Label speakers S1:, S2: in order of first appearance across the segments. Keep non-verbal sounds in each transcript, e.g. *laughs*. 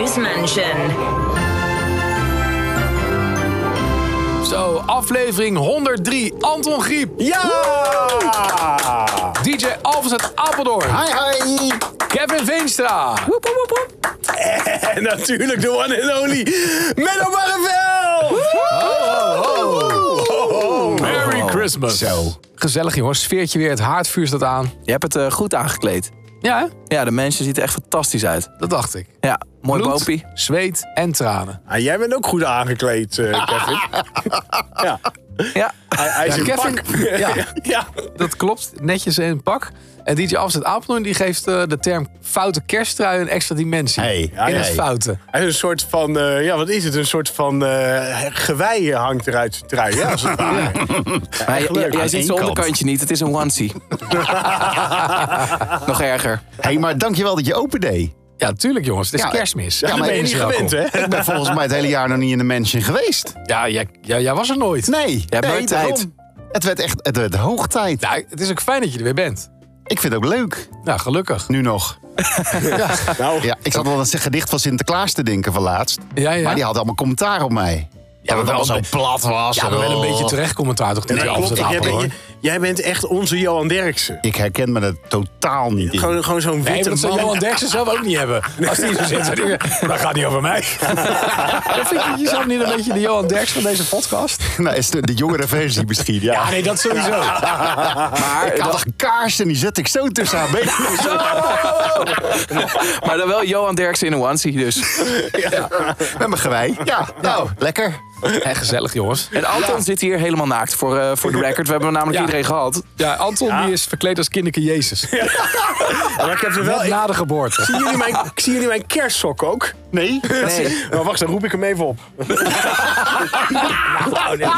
S1: Mansion.
S2: Zo, aflevering 103. Anton Griep,
S3: Ja!
S2: DJ Alves uit Apeldoorn,
S3: Hi, hi!
S2: Kevin Veenstra,
S3: En natuurlijk de one and only Menno Barrevel!
S2: Merry Christmas.
S3: Zo.
S2: Gezellig jongen, sfeertje weer, het haardvuur staat aan.
S4: Je hebt het eh, goed aangekleed.
S2: Ja, hè?
S4: Ja, de mensen ziet er echt fantastisch uit.
S2: dat dacht ik.
S4: Ja, mooi
S2: Bloed,
S4: bopie.
S2: zweet en tranen.
S3: Ah, jij bent ook goed aangekleed, eh, Kevin. ja,
S4: Ja.
S2: Ah,
S3: hij, hij is in
S2: Kevin,
S3: pak.
S2: ja.
S3: *laughs* ja.
S2: Dat klopt, netjes in een pak. En DJ Afzet Apeldoorn die geeft eh, de term foute kersttrui een extra dimensie.
S3: Hey,
S2: in
S3: hey,
S2: het
S3: hey.
S2: foute.
S3: Hij is een soort van, eh, ja, wat is het? Een soort van eh gewei hangt eruit zijn trui, ja, als het ware.
S4: Maar j-
S3: leuk.
S4: j- jij
S3: Aan
S4: ziet
S5: één
S4: zijn
S5: kant.
S4: onderkantje niet, het is een
S2: *laughs*
S4: onesie. Nog erger.
S5: Hé, *laughs* hey, maar dankjewel dat je open deed.
S2: Ja, tuurlijk jongens, het is
S5: Ja,
S2: kerstmis.
S5: ja,
S2: Ja,
S3: Dat
S5: maar
S3: ben je niet
S5: welkom.
S3: gewend, hè?
S5: Ik ben volgens mij het hele jaar nog niet in de mansion geweest.
S2: jij, jij- jij was er nooit.
S5: Nee,
S4: hebt
S5: nee,
S4: nooit tijd.
S5: daarom. Het werd echt het werd hoog tijd.
S2: Nou, het is ook fijn dat je er weer bent.
S5: Ik vind het ook leuk,
S2: Nou, gelukkig.
S5: nu nog.
S3: Nou,
S5: Ja, ik zat wel eens een gedicht van Sinterklaas te denken van laatst.
S2: Ja, ja.
S5: Maar die had allemaal commentaar op mij. Ja,
S2: maar
S5: dat het
S2: wel
S5: allemaal
S2: een
S5: zo plat was.
S2: Ja, maar wel
S5: Oh.
S2: een beetje terecht commentaar toch?
S3: nee,
S2: DJ
S3: klopt.
S2: Afzet
S3: Ik- jij,
S2: Apeldoorn.
S3: bent, jij bent echt onze Johan Derksen.
S5: Ik herken me er totaal niet in.
S3: Gewoon, gewoon zo'n
S2: Nee, maar
S3: witte
S2: dat zou
S3: man.
S2: Johan Derksen zelf ook niet hebben. Als die zo zit, zou die zeggen, dat gaat niet over mij. dat vind ik jezelf niet een beetje de Johan Derks van deze podcast?
S5: Nou, is de, de jongere versie misschien, ja.
S2: Ja, nee, dat sowieso.
S4: Maar,
S5: ik had
S4: dan,
S5: een kaars en die zet ik *laughs* zo tussen haar benen.
S4: maar dan wel Johan Derksen in een onesie dus.
S5: Met mijn gewei. Ja, nou, lekker.
S2: En gezellig, jongens.
S4: En Anton zit hier helemaal naakt voor, eh, voor de record. We hebben namelijk
S2: Ja.
S4: iedereen gehad.
S2: Ja, Anton die is verkleed als kinderke Jezus.
S3: Maar ik heb er wel...
S2: Net na de geboorte.
S3: Zien jullie, mijn, zien jullie mijn kerstsok ook? *laughs*
S5: Nee?
S4: Nee.
S3: Maar wacht, dan roep ik hem even
S5: *laughs*
S3: op.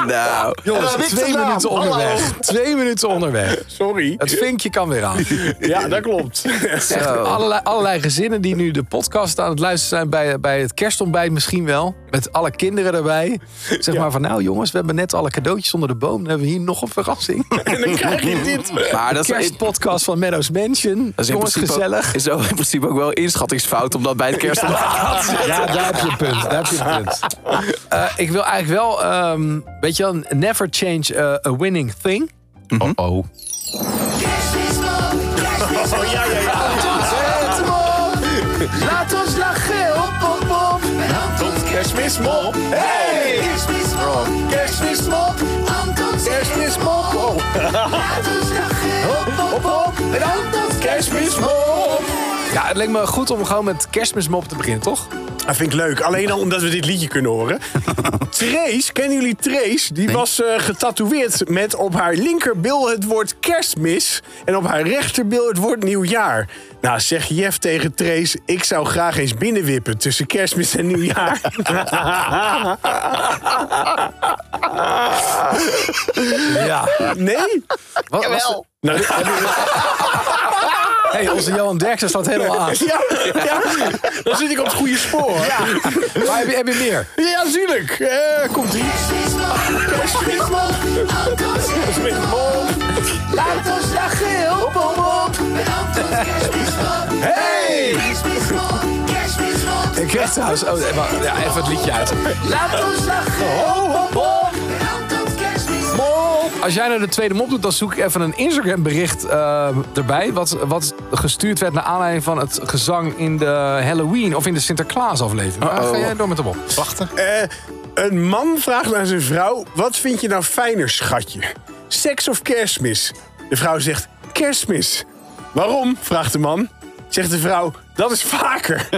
S4: Nou,
S2: Jongens,
S5: heb ik
S2: twee
S5: gedaan.
S2: minuten
S5: Hallo.
S2: onderweg. Twee minuten onderweg.
S3: Sorry.
S2: *laughs* Het vinkje kan weer aan.
S3: Ja, dat
S5: *laughs*
S3: klopt.
S4: zo.
S2: Allerlei, allerlei gezinnen die nu de podcast aan het luisteren zijn bij, bij het kerstontbijt misschien wel. Met alle kinderen erbij. Zeg maar van nou jongens, we hebben net alle cadeautjes onder de boom. Dan hebben we hier nog een verrassing. *laughs*
S3: En dan krijg je dit.
S5: *laughs*
S4: Maar dat is,
S2: Kerstpodcast van Meadows Mansion.
S4: dat is in
S2: jongens,
S4: principe ook-
S2: gezellig.
S4: is ook in principe ook wel een inschattingsfout om dat bij het kerst
S2: Ja, daar heb je een punt. Daar heb je een punt. Eh, ik wil eigenlijk wel, ehm, weet je wel, never change eh, a winning thing.
S5: Oh.
S3: Oh, ja, ja, ja.
S2: Laat ons lachen, op, op, op.
S3: Tot kerstmismop. Hey! Kerstmismop. Kerstmismop. Anton kerstmismop. Oh. Hop, hop, hop. En Anton kerstmismop.
S2: Ja, het leek me goed om gewoon met kerstmismop te beginnen, toch?
S3: Dat vind ik leuk. Alleen al omdat we dit liedje kunnen *laughs* horen. Trace, kennen jullie Trace? Die was eh, getatoeëerd met op haar linkerbil het woord kerstmis... en op haar rechterbil het woord nieuwjaar. Nou, zeg Jeff tegen Trace... ik zou graag eens binnenwippen tussen kerstmis en nieuwjaar. *laughs*
S2: Ja.
S3: nee? Nou,
S2: Wat, Jawel. hey, onze Johan Derksen staat helemaal aan.
S3: Ja, ja, dan zit ik op het goede spoor. Ja,
S2: Maar heb je, heb je meer?
S3: ja tuurlijk. Eh, komt ie. Kerstmismop, kerstmismop.
S2: Laat ons lachen, hop, hop,
S3: Hey!
S2: Ik kreeg trouwens... Oh, nee, wacht, ja, even het liedje uit. Laat ons lachen,
S3: Ho, ho, ho. Mop.
S2: Als jij nou de tweede mop doet, dan zoek ik even een Instagram bericht eh, erbij. Wat, wat gestuurd werd naar aanleiding van het gezang in de Halloween of in de Sinterklaas aflevering. Maar Ga jij door met de mop.
S5: Wachten.
S3: Eh, een man vraagt aan zijn vrouw: Wat vind je nou fijner, schatje? Seks of kerstmis? De vrouw zegt: Kerstmis. Waarom? vraagt de man. Zegt de vrouw: Dat is vaker.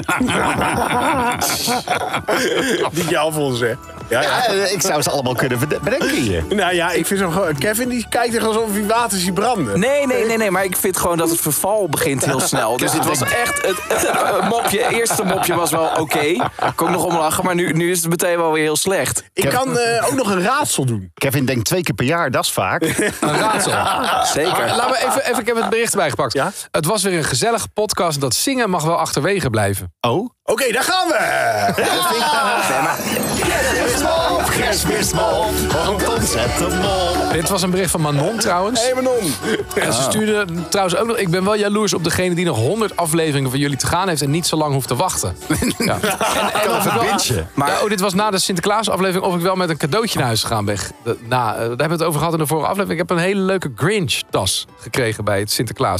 S3: *laughs* Die jou volgens hè? Ja, ja.
S5: Ja, eh, ik zou ze allemaal kunnen verdenken. Bedenken je?
S3: Nou ja, ik vind hem gewoon. Kevin die kijkt er alsof hij water ziet branden.
S4: Nee, nee, nee, nee, maar ik vind gewoon dat het verval begint heel snel. Dus het was echt, het, het mopje, eerste mopje was wel oké. Kon ik nog om lachen, maar nu, nu is het meteen wel weer heel slecht.
S3: Ik kan eh, ook nog een raadsel doen.
S5: Kevin denkt twee keer per jaar, dat is
S2: *laughs*
S5: vaak.
S2: Een raadsel. Maar
S4: Zeker.
S2: laat me even, even, ik heb het bericht bijgepakt.
S3: Ja?
S2: Het was weer een gezellige podcast. Dat zingen mag wel achterwege blijven.
S5: Oh?
S3: Oké, daar gaan we!
S4: Nee, maar,
S3: Kerstmis op,
S5: kerstmismol, want ons het de mol.
S2: Dit was een bericht van Manon trouwens.
S3: Hey Manon.
S2: En ze stuurde trouwens ook nog... Ik ben wel jaloers op degene die nog 100 afleveringen van jullie te gaan heeft... en niet zo lang hoeft te wachten. Ja. En, en of ik wel-
S5: Windje.
S2: maar, ja, oh, dit was na de Sinterklaas-aflevering... of ik wel met een cadeautje naar huis gegaan ben. Eh, Nou, eh, daar hebben we het over gehad in de vorige aflevering. Ik heb een hele leuke Grinch-tas gekregen bij het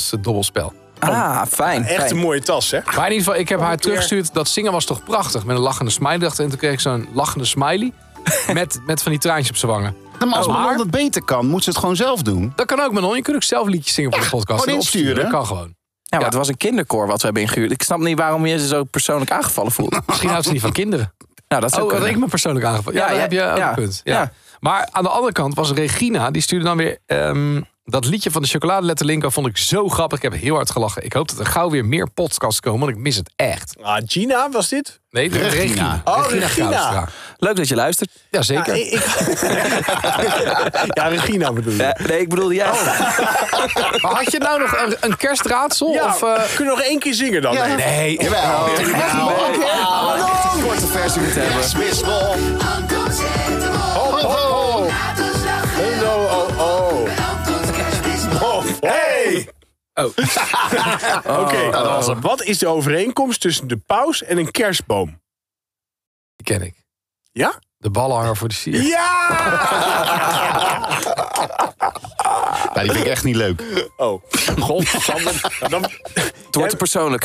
S2: Sinterklaas-dobbelspel.
S4: Ah, fijn.
S3: Echt
S4: fijn.
S3: een mooie tas, hè?
S2: Maar in ieder geval, ik heb haar
S3: weer.
S2: teruggestuurd. Dat zingen was toch prachtig? Met een lachende smiley. erachter. En toen kreeg ik zo'n lachende smiley... met, met van die traantjes op zijn wangen.
S5: Maar als
S2: Oh, maar-
S5: Manon dat beter kan, moet ze het gewoon zelf doen.
S2: Dat kan ook, Manon. Je kunt ook zelf liedjes zingen voor de podcast.
S5: gewoon
S2: en opsturen.
S5: insturen.
S2: Dat kan gewoon.
S4: Ja, maar het was een kinderkoor wat we hebben ingehuurd. Ik snap niet waarom je ze zo persoonlijk aangevallen voelt.
S2: Misschien houdt ze *laughs* niet van kinderen.
S4: Nou, dat zou
S2: Oh, dat
S4: kunnen.
S2: ik me persoonlijk aangevallen. Ja,
S4: Ja,
S2: daar
S4: ja,
S2: heb je ook
S4: ja,
S2: een punt. Ja.
S4: ja.
S2: Maar aan de andere kant was Regina, die stuurde dan weer... ehm, dat liedje van de chocoladeletterlinker vond ik zo grappig. Ik heb heel hard gelachen. Ik hoop dat er gauw weer meer podcasts komen, want ik mis het echt.
S3: Ah, Gina was dit?
S2: Nee, de
S5: Regina.
S2: Regina.
S3: Oh, Regina.
S2: Koustra.
S4: Leuk dat je luistert.
S2: Ja,
S3: Ja,
S2: zeker.
S3: Ah, ik- ik- ja, Regina bedoel je.
S4: Ja, Eh, nee, ik bedoel jij.
S2: Oh. Maar had je nou nog een, een kerstraadsel?
S3: Ja,
S2: Of, eh,
S3: kun je nog één keer zingen dan? Nee.
S2: nee,
S5: Jawel.
S2: oh,
S5: Jawel. Echt een korte versie moeten hebben. Kerstmismol.
S1: Anton zet hem op.
S3: Oh, oh, oh.
S1: Laten we lachen.
S3: Oh, no, oh, oh.
S1: Anton's kerstmismol.
S3: Oh, hey! *laughs*
S2: Oh.
S3: Oké, wat is de overeenkomst tussen de paus en een kerstboom?
S2: die ken ik.
S3: Ja?
S2: De ballenhanger voor de sier.
S3: Ja!
S5: Ja, Nou, die vind ik echt niet
S2: *laughs*
S5: leuk.
S3: Oh, godsamme. Dan...
S4: Het wordt te persoonlijk.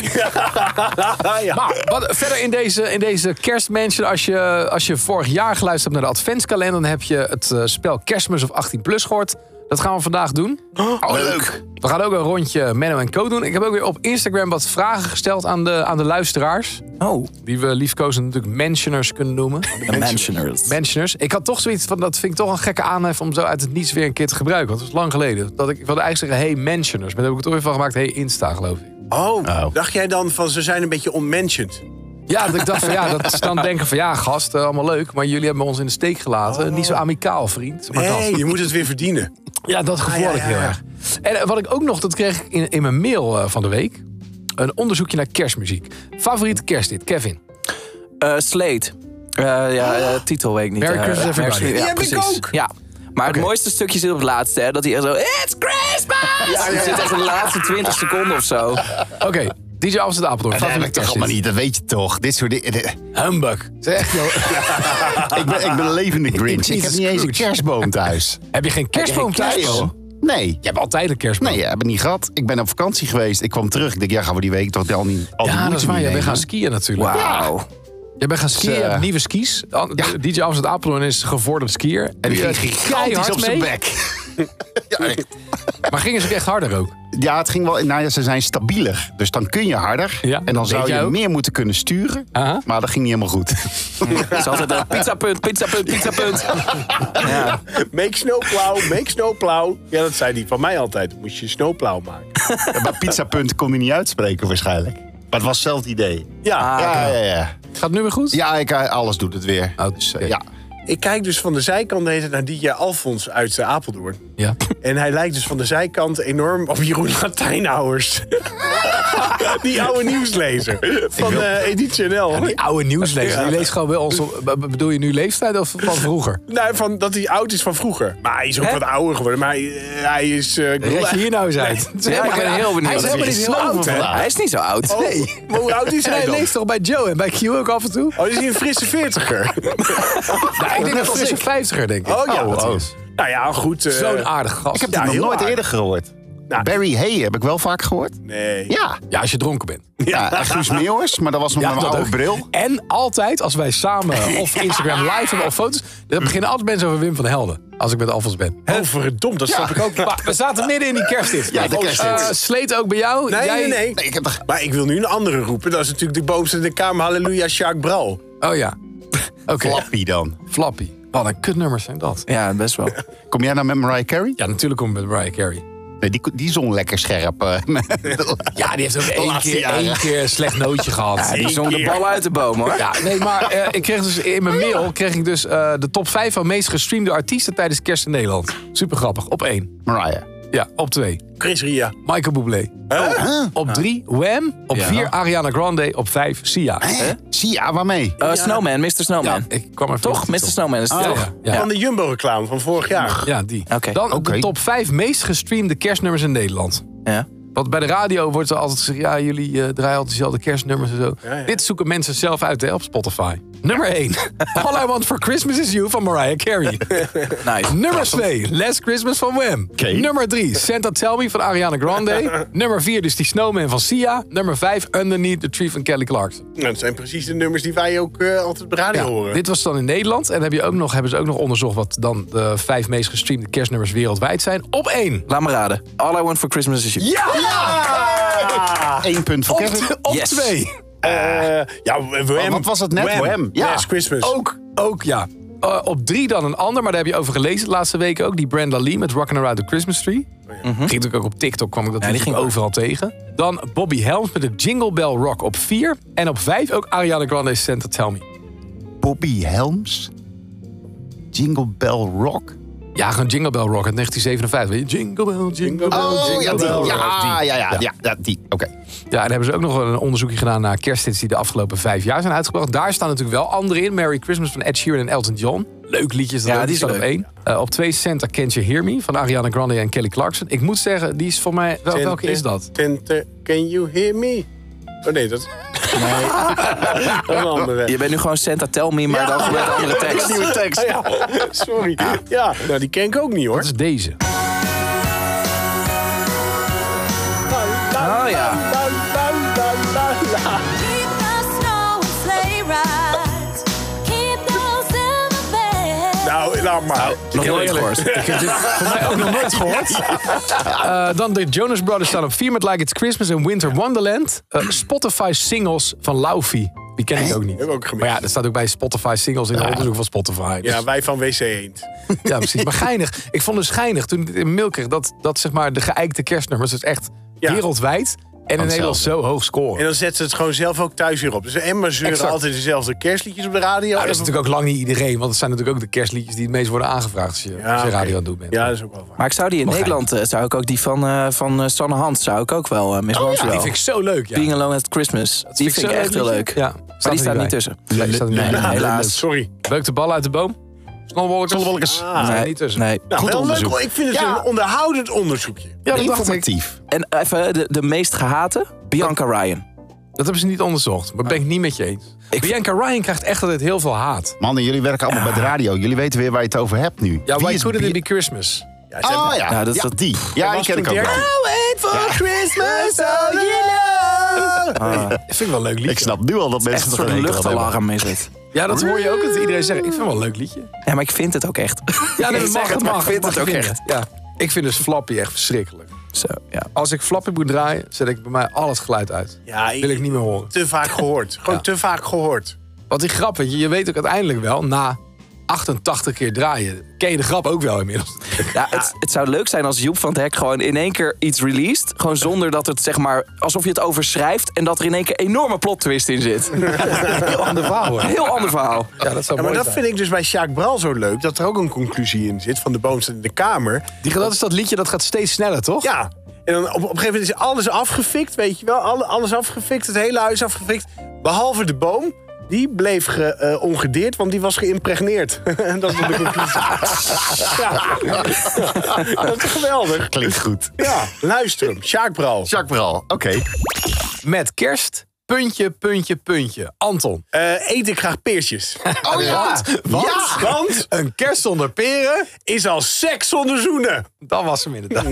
S3: Ah, ja.
S2: Maar wat, verder in deze, in deze kerstmansion, als je, als je vorig jaar geluisterd hebt naar de adventskalender, dan heb je het eh, spel Kerstmis of 18 plus gehoord. Dat gaan we vandaag doen.
S5: leuk.
S2: We gaan ook een rondje Menno en Co doen. Ik heb ook weer op Instagram wat vragen gesteld aan de, aan de luisteraars.
S4: Oh,
S2: Die we liefkozen natuurlijk mentioners kunnen noemen.
S4: de Mansioners.
S2: Mentioners. Ik had toch zoiets van, dat vind ik toch een gekke aanhef om zo uit het niets weer een keer te gebruiken. Want dat is lang geleden. Dat ik, ik wilde eigenlijk zeggen, hey mentioners. Maar daar heb ik het toch weer van gemaakt, hey Insta geloof ik.
S3: Oh,
S5: Oh.
S3: dacht jij dan van ze zijn een beetje unmentioned?
S2: Ja, dat ik dacht van ja, dat is dan denken van ja, gast, eh, allemaal leuk. Maar jullie hebben ons in de steek gelaten. Niet zo amicaal, vriend. Maar gast.
S3: Nee, je moet het weer verdienen.
S2: Ja, dat gevoel
S3: Ah,
S2: had
S3: ja,
S2: ik
S3: ja,
S2: heel
S3: ja.
S2: erg. En eh, wat ik ook nog, dat kreeg ik in, in mijn mail eh, van de week. Een onderzoekje naar kerstmuziek. Favoriete kerstdit, Kevin.
S4: Eh Slate. Eh, ja, eh, titel weet ik niet.
S2: Merry
S4: Eh,
S2: Christmas,
S4: Merry
S2: everybody.
S4: Christmas,
S3: Die
S4: Ja,
S3: heb ik
S4: precies.
S3: ook.
S4: Ja. Maar het mooiste stukje zit op het laatste, hè, dat hij echt zo... It's Christmas! Er zit echt in de laatste 20 seconden of zo.
S2: Oké,
S3: *laughs*
S2: DJ Amsterdam Apeldoorn,
S5: Dat heb
S2: favoriete
S5: ik toch allemaal
S2: kerstdit.
S5: niet, dat weet je toch. Dit soort dingen.
S2: Humbug. Zeg, joh,
S5: *laughs* Ik ben, ik ben een
S2: *laughs*
S5: levende Grinch. Ik heb niet eens een
S2: Scrooge.
S5: kerstboom
S2: *laughs*
S5: thuis.
S2: heb je geen kerstboom
S5: Geen
S2: thuis? joh?
S5: Nee.
S2: Je hebt altijd een kerstboom.
S5: Nee, ja, heb ik niet gehad. Ik ben op vakantie geweest. Ik kwam terug. Ik denk, ja, gaan we die week toch wel niet. al die
S2: ja, dat is
S5: moeite
S2: waar. Jij
S5: meenemen?
S2: bent gaan skiën natuurlijk.
S4: Wauw.
S2: Je bent gaan skiën,
S5: Dus,
S2: je
S5: eh,
S2: hebt nieuwe skis. An- DJ Amsterdam Apeldoorn is gevorderd skier. En die
S5: Die
S2: ging
S5: ging gigantisch
S2: keihard
S5: op zijn
S2: mee.
S5: bek. ja, echt.
S2: Maar gingen ze ook echt harder ook?
S5: Ja, het ging wel. Nou ja, ze zijn stabieler. Dus dan kun je harder.
S2: Ja,
S5: en dan
S2: weet
S5: zou
S2: jij
S5: je
S2: ook.
S5: meer moeten kunnen sturen.
S2: Aha.
S5: Maar dat ging niet helemaal
S2: *laughs*
S5: goed.
S4: Het is altijd eh, een pizzapunt, pizzapunt, pizzapunt. Ja.
S3: Make snowplow, make snowplow. Ja, dat zei die van mij altijd. Moest je snowplow maken.
S5: Ja, maar pizzapunt kon hij niet uitspreken waarschijnlijk. Maar het was hetzelfde idee.
S2: Ah.
S3: Ja,
S5: ja, ja, ja.
S2: Gaat het nu weer goed?
S5: Ja, ik, eh, alles doet het weer.
S2: Oh,
S5: Dus, eh,
S2: oké.
S5: ja.
S3: ik kijk dus van de zijkant de hele tijd naar DJ Alfons uit eh, Apeldoorn.
S2: Ja.
S3: En hij lijkt dus van de zijkant enorm op Jeroen Latijnhouwers. *laughs* die oude nieuwslezer van eh Editie NL.
S2: Die oude nieuwslezer, die leest gewoon wel ons. op- b- b- Bedoel je nu leeftijd of van vroeger?
S3: Nou, van, dat hij oud is van vroeger. Maar hij is ook wat ouder geworden. Maar hij, hij is... eh, ik bedoel,
S2: Red je hier nou eens uit?
S4: Ja, ik ben heel benieuwd.
S2: Hij is helemaal niet heel oud, hè?
S4: Hij is niet zo oud.
S3: Oh, maar hoe
S2: *laughs*
S3: oud is
S2: En
S3: hij
S2: hij
S3: dan?
S2: leeft toch bij Joe en bij Q ook af en toe? Nou,
S3: Oh, is hij een frisse veertiger?
S2: ik denk dat hij een vijftiger, denk ik.
S3: Oh ja,
S2: dat
S3: dat
S2: is.
S3: Nou ja, goed. eh,
S2: Zo'n aardig gast.
S5: Ik heb
S3: Ja,
S5: dit
S3: heel
S5: nog nooit
S3: aardig.
S5: eerder gehoord.
S3: Nou.
S5: Barry Hay heb ik wel vaak gehoord.
S3: Nee.
S5: Ja.
S2: Ja, als je dronken bent.
S5: ja.
S2: *laughs*
S5: en Guus Meeuwers, maar dat was nog
S2: Ja,
S5: met mijn
S2: dat ook.
S5: oude bril.
S2: En altijd, als wij samen of Instagram live hebben of foto's... dan beginnen altijd mensen over Wim van Helden. Als ik met Alfons ben.
S3: Oh, verdomd, dat snap ik
S2: *laughs*
S3: ook.
S2: Maar we zaten midden in die kerstdit.
S5: Ja, de kerstdit.
S2: Eh, Sleet ook bij jou?
S3: Nee,
S2: Jij-
S3: nee, nee.
S5: Nee, ik heb toch...
S3: Maar ik wil nu een andere roepen. Dat is natuurlijk de boomste in de kamer. Halleluja, Jacques Bral.
S2: Oh ja. Oké,
S5: Flappy dan.
S2: Flappy. Wat een kutnummers zijn dat.
S4: Ja, best wel.
S5: Kom jij nou met Mariah Carey?
S2: Ja, natuurlijk komt met Mariah Carey.
S5: Nee, die, die zong lekker scherp. eh. *laughs*
S2: Ja, die heeft ook één
S5: laatste
S2: keer,
S5: jaren.
S2: één keer een slecht nootje gehad.
S4: Die zong de ballen uit de boom, hoor.
S2: Ja, nee, maar eh, ik kreeg dus in mijn mail kreeg ik dus eh, de top 5 van meest gestreamde artiesten tijdens kerst in Nederland. Super grappig, op één.
S5: Mariah.
S2: Ja, op twee.
S3: Chris Ria.
S2: Michael Bublé. Op drie, Wham. Op
S4: Ja.
S2: vier, Ariana Grande. Op vijf, Sia.
S5: Hè? Sia, ah, waarmee?
S4: Eh, Snowman, Mr. Snowman.
S2: Ik kwam er
S4: Toch? Mr. Snowman is het
S2: Ja, Ah,
S4: toch?
S2: ja, ja.
S3: Van de Jumbo-reclame van vorig jaar.
S2: Ja, die.
S4: Oké.
S2: Dan
S5: Oké.
S2: de top 5 meest gestreamde kerstnummers in Nederland.
S4: Ja.
S2: Want bij de radio wordt er altijd gezegd... ja, jullie eh, draaien altijd dezelfde kerstnummers en zo.
S3: Ja, ja.
S2: Dit zoeken mensen zelf uit hè, op Spotify. Nummer 1. *laughs* All I Want For Christmas Is You van Mariah
S3: *laughs*
S2: Carey.
S4: Nice.
S2: Nummer 2. Last Christmas van Wham.
S5: Oké.
S2: Nummer 3. Santa Tell Me van Ariana
S3: *laughs*
S2: Grande. Nummer 4 dus die Snowman van Sia. Nummer 5 Underneath the Tree van Kelly Clarkson.
S3: Nou, dat zijn precies de nummers die wij ook eh, altijd op de radio horen.
S2: Dit was dan in Nederland. En heb je ook nog, hebben ze ook nog onderzocht... wat dan de vijf meest gestreamde kerstnummers wereldwijd zijn. Op 1.
S4: Laat me raden. All I Want For Christmas Is You.
S2: Ja!
S5: Eén punt voor
S2: Op,
S5: Kevin.
S2: t- op
S4: Yes.
S2: twee.
S3: Eh, ja, Wham.
S5: Wat was het net?
S3: Wham.
S5: Wham, ja.
S3: Last Christmas.
S2: Ook, ook ja. Eh, op drie dan een ander, maar daar heb je over gelezen de laatste weken ook. Die Brenda Lee met Rockin' Around the Christmas Tree.
S5: Oh,
S2: Mhm. Ging natuurlijk ook op TikTok, kwam ik dat
S4: Ja, die
S2: natuurlijk
S4: ging
S2: overal tegen. Dan Bobby Helms met de Jingle Bell Rock op vier. En op vijf ook Ariana Grande's Santa Tell Me.
S5: Bobby Helms. Jingle Bell Rock.
S2: Ja, gewoon Jingle Bell Rock uit 1957. Weet je? Jingle Bell, Jingle Bell,
S5: Oh,
S2: Jingle
S5: ja, die.
S2: Bell
S5: Ja,
S2: Rock.
S5: ja, ja, ja, ja, die. Oké.
S2: Ja, en hebben ze ook nog een onderzoekje gedaan naar kersthits die de afgelopen vijf jaar zijn uitgebracht. Daar staan natuurlijk wel andere in. Merry Christmas van Ed Sheeran en Elton John. Leuk liedjes. dat
S4: Ja,
S2: ook.
S4: die is
S2: staat op
S4: leuk.
S2: één. Eh, op twee Santa Can't You Hear Me van Ariana Grande en Kelly Clarkson. Ik moet zeggen, die is voor mij... wel- welke is dat?
S3: Tente, can you hear me? Oh nee, dat... Nee. *laughs* dat is een andere.
S4: Je bent nu gewoon Santa Tell Me, maar dan met een andere tekst.
S5: Nieuwe tekst.
S3: Ah, ja. *laughs* Sorry. Ja, nou die ken ik ook niet hoor.
S2: Dat is deze.
S3: Nou,
S4: Oh ja.
S6: Keep the snow and sleigh rides. Keep those silver bells.
S3: Nou, laat maar.
S4: Nog nooit gehoord.
S2: Ik
S3: *laughs*
S2: heb dit voor mij ook nog nooit gehoord. Eh, dan de Jonas Brothers staan op 4 met Like It's Christmas en Winter Wonderland. Eh, Spotify singles van Laufey. Die ken ik ook niet.
S3: Heb ik ook gemist.
S2: Maar ja, dat staat ook bij Spotify singles in het onderzoek van Spotify. Dus-
S3: Ja, wij van WC Eend.
S2: Ja, precies.
S3: *laughs*
S2: Maar geinig. Ik vond het scheinig toen ik dit in mail kreeg dat, dat zeg maar de geëikte kerstnummers, dus echt
S3: Ja.
S2: wereldwijd en in Nederland zo hoog scoren.
S3: En dan zetten ze het gewoon zelf ook thuis weer op. Dus Emma zeuren
S2: Exact.
S3: altijd dezelfde kerstliedjes op de radio.
S2: Nou, dat is natuurlijk ook lang niet iedereen, want het zijn natuurlijk ook de kerstliedjes die het meest worden aangevraagd als je, als je
S3: Ah, oké.
S2: radio aan het doen bent.
S3: Ja, dat is ook wel waar.
S4: Maar ik zou die in
S2: Mag hij?
S4: Nederland, eh, zou ik ook die van, eh, van eh, Sanne Hans, zou ik ook wel, eh, Miss
S2: Oh, ja,
S4: Wandswell.
S2: die vind ik zo leuk. Ja.
S4: Being Alone at Christmas. die vind ik
S2: zo
S4: echt heel leuk.
S2: Ja,
S4: Maar die staat niet
S2: bij.
S4: tussen.
S2: Nee, die staat er niet bij.
S4: Nee, helaas.
S3: Sorry.
S2: Leuk de bal uit de boom. Snowbalkers. Snowbalkers.
S4: Nee,
S2: niet tussen.
S4: Nee.
S3: Nou,
S5: Goed
S3: wel
S5: onderzoek.
S3: leuk. hoor. Ik vind het
S5: Ja.
S3: een onderhoudend onderzoekje.
S2: Ja, dat dacht ik.
S5: Informatief.
S4: En even eh, de, de meest gehate, Bianca Ryan.
S2: Dat hebben ze niet onderzocht, maar ben ik niet met je eens. Bianca Ryan krijgt echt altijd heel veel haat.
S5: Mannen, jullie werken allemaal bij de radio. Jullie weten weer waar je het over hebt nu.
S2: Ja,
S5: Wie
S2: why
S5: is
S2: couldn't it
S5: Bi-
S2: be Christmas?
S3: Ja, ze
S5: Ah
S3: hebben-
S5: ja,
S4: Ja, dat
S5: dat
S4: is
S5: is
S4: dat-
S5: die. Ja,
S3: Hij
S5: ik
S3: was
S5: ken ik
S3: toen
S5: ook wel.
S3: 13.
S4: wait for Christmas, oh Ah.
S2: Ik Ah. vind ik wel een leuk liedje.
S5: Ik snap nu al dat
S4: Echt
S5: mensen
S4: een
S5: er
S4: soort
S5: geen enkel aan hebben.
S4: luchtalarm is het.
S2: Ja, dat hoor je ook dat iedereen zegt. Ik vind het wel een leuk liedje.
S4: Ja, maar ik vind het ook echt.
S2: Ja,
S4: *laughs* ik zeg het, maar ik vind het ook echt.
S2: Ja. Ik vind dus Flappy echt verschrikkelijk.
S4: Zo, ja.
S2: Als ik Flappy moet draaien, zet ik bij mij al het geluid uit.
S3: Ja, ik-
S2: Wil ik niet meer horen.
S3: Te vaak gehoord. Gewoon
S2: Ja.
S3: te vaak gehoord.
S2: Want die grap, weet je, je weet ook uiteindelijk wel, na 88 keer draaien, ken je de grap ook wel inmiddels.
S4: *laughs* Ja, het, het zou leuk zijn als Joep van het Hek gewoon in één keer iets released. Gewoon zonder dat het zeg maar alsof je het overschrijft. En dat er in één keer enorme plot twist in zit.
S2: *laughs* Heel ander verhaal hoor.
S4: Heel ander verhaal.
S2: Ja, dat zou
S3: Ja, maar
S2: mooi
S3: dat
S2: zijn.
S3: vind ik dus bij Sjaak Bral zo leuk. Dat er ook een conclusie in zit van de boomste in de kamer.
S2: Die, dat is dat liedje, dat gaat steeds sneller, toch?
S3: Ja. En dan op, op een gegeven moment is alles afgefikt, weet je wel. Alle, alles afgefikt, het hele huis afgefikt. Behalve de boom. Die bleef ge, eh, ongedeerd, want die was geïmpregneerd. *laughs* En dat is de conclusie. ja. Dat is geweldig.
S5: Klinkt goed.
S3: Ja, luister hem. Sjaak Bral.
S5: Jacques Bral, oké.
S2: Met kerst, puntje, puntje, puntje. Anton.
S3: Eh, eet ik graag peertjes.
S5: Oh ja!
S2: Want,
S5: Ja!
S3: Want
S2: een kerst zonder peren,
S3: is al seks zonder zoenen.
S2: dat was hem *laughs* inderdaad.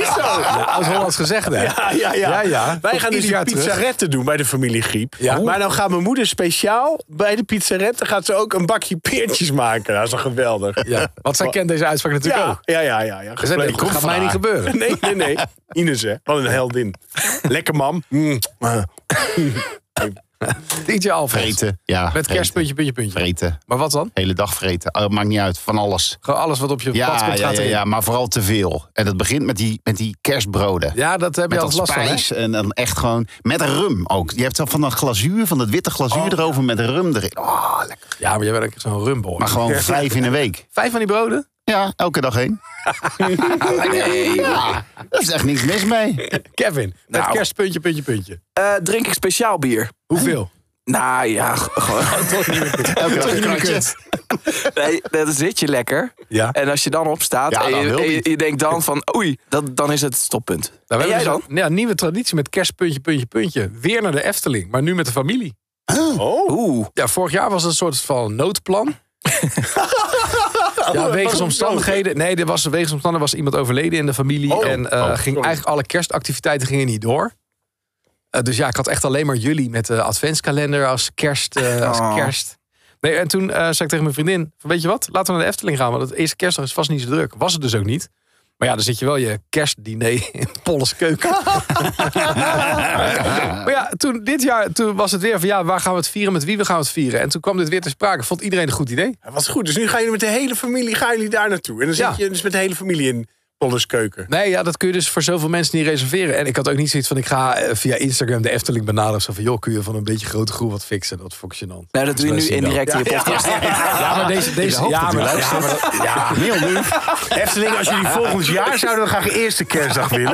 S3: Is zo.
S2: Oud-Hollands gezegd, hè?
S3: Ja, ja, ja.
S2: Ja, ja.
S3: Wij gaan
S2: Ieder
S3: dus die
S2: jaar terug.
S3: pizzaretten doen bij de familie Griep.
S2: Ja.
S3: Maar nou gaat mijn moeder speciaal bij de pizzaretten... gaat ze ook een bakje peertjes maken. Dat is toch geweldig?
S2: Ja, Want zij kent deze uitspraak natuurlijk
S3: Ja,
S2: ook.
S3: ja, ja. ja, ja.
S2: Ze zei,
S3: Compleet.
S2: dit gaat mij niet gebeuren.
S3: *laughs* Nee, nee, nee. Ines, hè. Wat een heldin. Lekker, mam. Mm. Ah.
S2: DJ Alfred.
S5: Vreten. Ja,
S2: Met
S5: vreten.
S2: kerst, puntje, puntje, puntje.
S5: Vreten.
S2: Maar wat dan?
S5: Hele dag vreten. Oh, maakt niet uit, van alles.
S2: Gewoon alles wat op je pad
S5: Ja,
S2: komt
S5: ja,
S2: gaat
S5: ja,
S2: erin.
S5: ja, maar vooral te veel. En dat begint met die, met die kerstbroden.
S2: Ja, dat heb je
S5: Met
S2: altijd
S5: dat
S2: last van, hè?
S5: spijs en dan echt gewoon... Met rum ook. Je hebt zo van dat glazuur, van dat witte glazuur erover met rum erin. Oh, lekker.
S2: Ja, maar jij bent ook zo'n rumboy.
S5: Maar gewoon vijf in een week.
S2: Vijf van die broden?
S5: Ja, elke dag heen.
S4: Nee.
S5: Ja, daar is echt niks mis mee.
S2: Kevin, met
S4: Nou.
S2: kerstpuntje, puntje, puntje.
S4: Eh, drink ik speciaal bier?
S2: Hoeveel?
S4: Nou ja, g-
S2: *laughs*
S4: gewoon. *laughs*
S5: Elke dag een kratje.
S4: Nee, dan zit je lekker.
S2: Ja.
S4: En als je dan opstaat
S5: Ja,
S4: en,
S5: dan
S4: je,
S5: wil
S4: en je-
S5: niet.
S4: je denkt dan van oei, dat, dan is het stoppunt.
S2: Nou,
S4: en
S2: we
S4: jij
S2: hebben
S4: dan?
S2: dus een ja, nieuwe traditie met kerstpuntje, puntje, puntje. Weer naar de Efteling, maar nu met de familie.
S4: Oh. Oeh,
S2: Ja, vorig jaar was het een soort van
S4: *laughs*
S2: noodplan. ja, wegens omstandigheden. Nee, er was, wegens omstandigheden was iemand overleden in de familie.
S3: Oh.
S2: en eh,
S3: Oh,
S2: ging
S3: sorry.
S2: eigenlijk alle kerstactiviteiten gingen niet door. Eh, dus ja, ik had echt alleen maar jullie met de adventskalender als kerst. eh, als
S4: Oh.
S2: kerst. Nee, en toen eh, zei ik tegen mijn vriendin: van, Weet je wat, laten we naar de Efteling gaan. Want het eerste kerstdag is vast niet zo druk. Was het dus ook niet. Maar ja, dan zit je wel je kerstdiner *laughs* in Polles
S3: *laughs*
S2: keuken. Maar ja, toen, dit jaar toen was het weer van ja, waar gaan we het vieren, met wie we gaan het vieren. En toen kwam dit weer te sprake. Vond iedereen een goed idee?
S3: Dat was goed. Dus nu gaan jullie met de hele familie gaan jullie daar naartoe. En dan
S2: Ja.
S3: zit je dus met de hele familie in Polles keuken.
S2: Nee, ja, dat kun je dus voor zoveel mensen niet reserveren. En ik had ook niet zoiets van ik ga eh, via Instagram de Efteling benaderen. of Zo van joh, kun je van een beetje grote groep wat fixen? Dat vond ik gênant. Dus
S4: nou dat doe je nu
S2: mensen zien
S4: indirect in je podcast.
S2: Ja, maar deze... deze ja, maar, ja, maar dat-
S4: *laughs*
S5: Ja, mail nu.
S3: Efteling, als jullie volgend jaar zouden we graag de eerste kerstdag willen.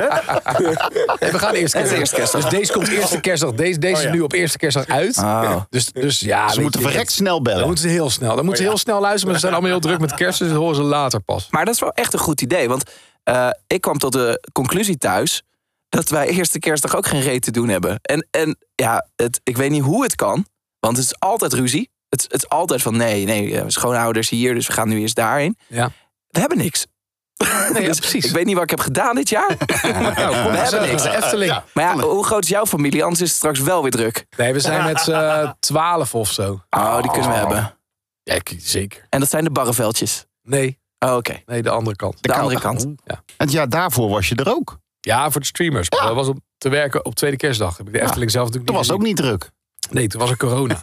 S2: nee, we gaan eerst kerstdag.
S4: eerste kerstdag.
S2: Dus deze komt eerste kerstdag. Deze, deze
S3: Oh, ja.
S2: is nu op eerste kerstdag uit.
S4: Ah.
S2: Dus, dus ja,
S5: Ze
S2: weet
S5: moeten
S2: je,
S5: verrekt snel
S2: Dan
S5: bellen.
S2: moeten ze heel snel. Dan moeten ze
S4: Oh,
S2: heel snel luisteren. Maar ze zijn allemaal heel druk met kerst. Dus dat horen ze later pas.
S4: Maar dat is wel echt een goed idee. Want eh, ik kwam tot de conclusie thuis dat wij eerste kerstdag ook geen reet te doen hebben. En, en ja, het, ik weet niet hoe het kan. Want het is altijd ruzie. Het, is- het is altijd van nee, nee, eh, schoonouders hier, dus we gaan nu eerst daarheen.
S2: Ja.
S4: We hebben niks.
S2: ja,
S4: *laughs* Dus
S2: precies.
S4: Ik weet niet wat ik heb gedaan dit
S2: *laughs*
S4: jaar. Oh,
S2: Nou,
S4: we hebben niks.
S2: De Efteling.
S4: Maar ja, hoe groot is jouw familie? Anders is het straks wel weer druk.
S2: Nee, we zijn met z'n twaalf of zo.
S4: Oh, die kunnen we hebben.
S2: Ja, ik- zeker.
S4: En dat zijn de barreveldjes.
S2: Nee,
S4: Oh, Oké,
S2: nee, de Oh. andere kant.
S4: de andere kant.
S2: Ja,
S5: Het jaar daarvoor was je er ook.
S2: ja voor de streamers. Maar dat was op te werken op tweede kerstdag. Heb ik de Efteling zelf natuurlijk
S5: Dat
S2: niet
S5: was ook
S2: gezien.
S5: niet druk.
S2: Nee, toen was er
S5: *laughs*
S2: corona.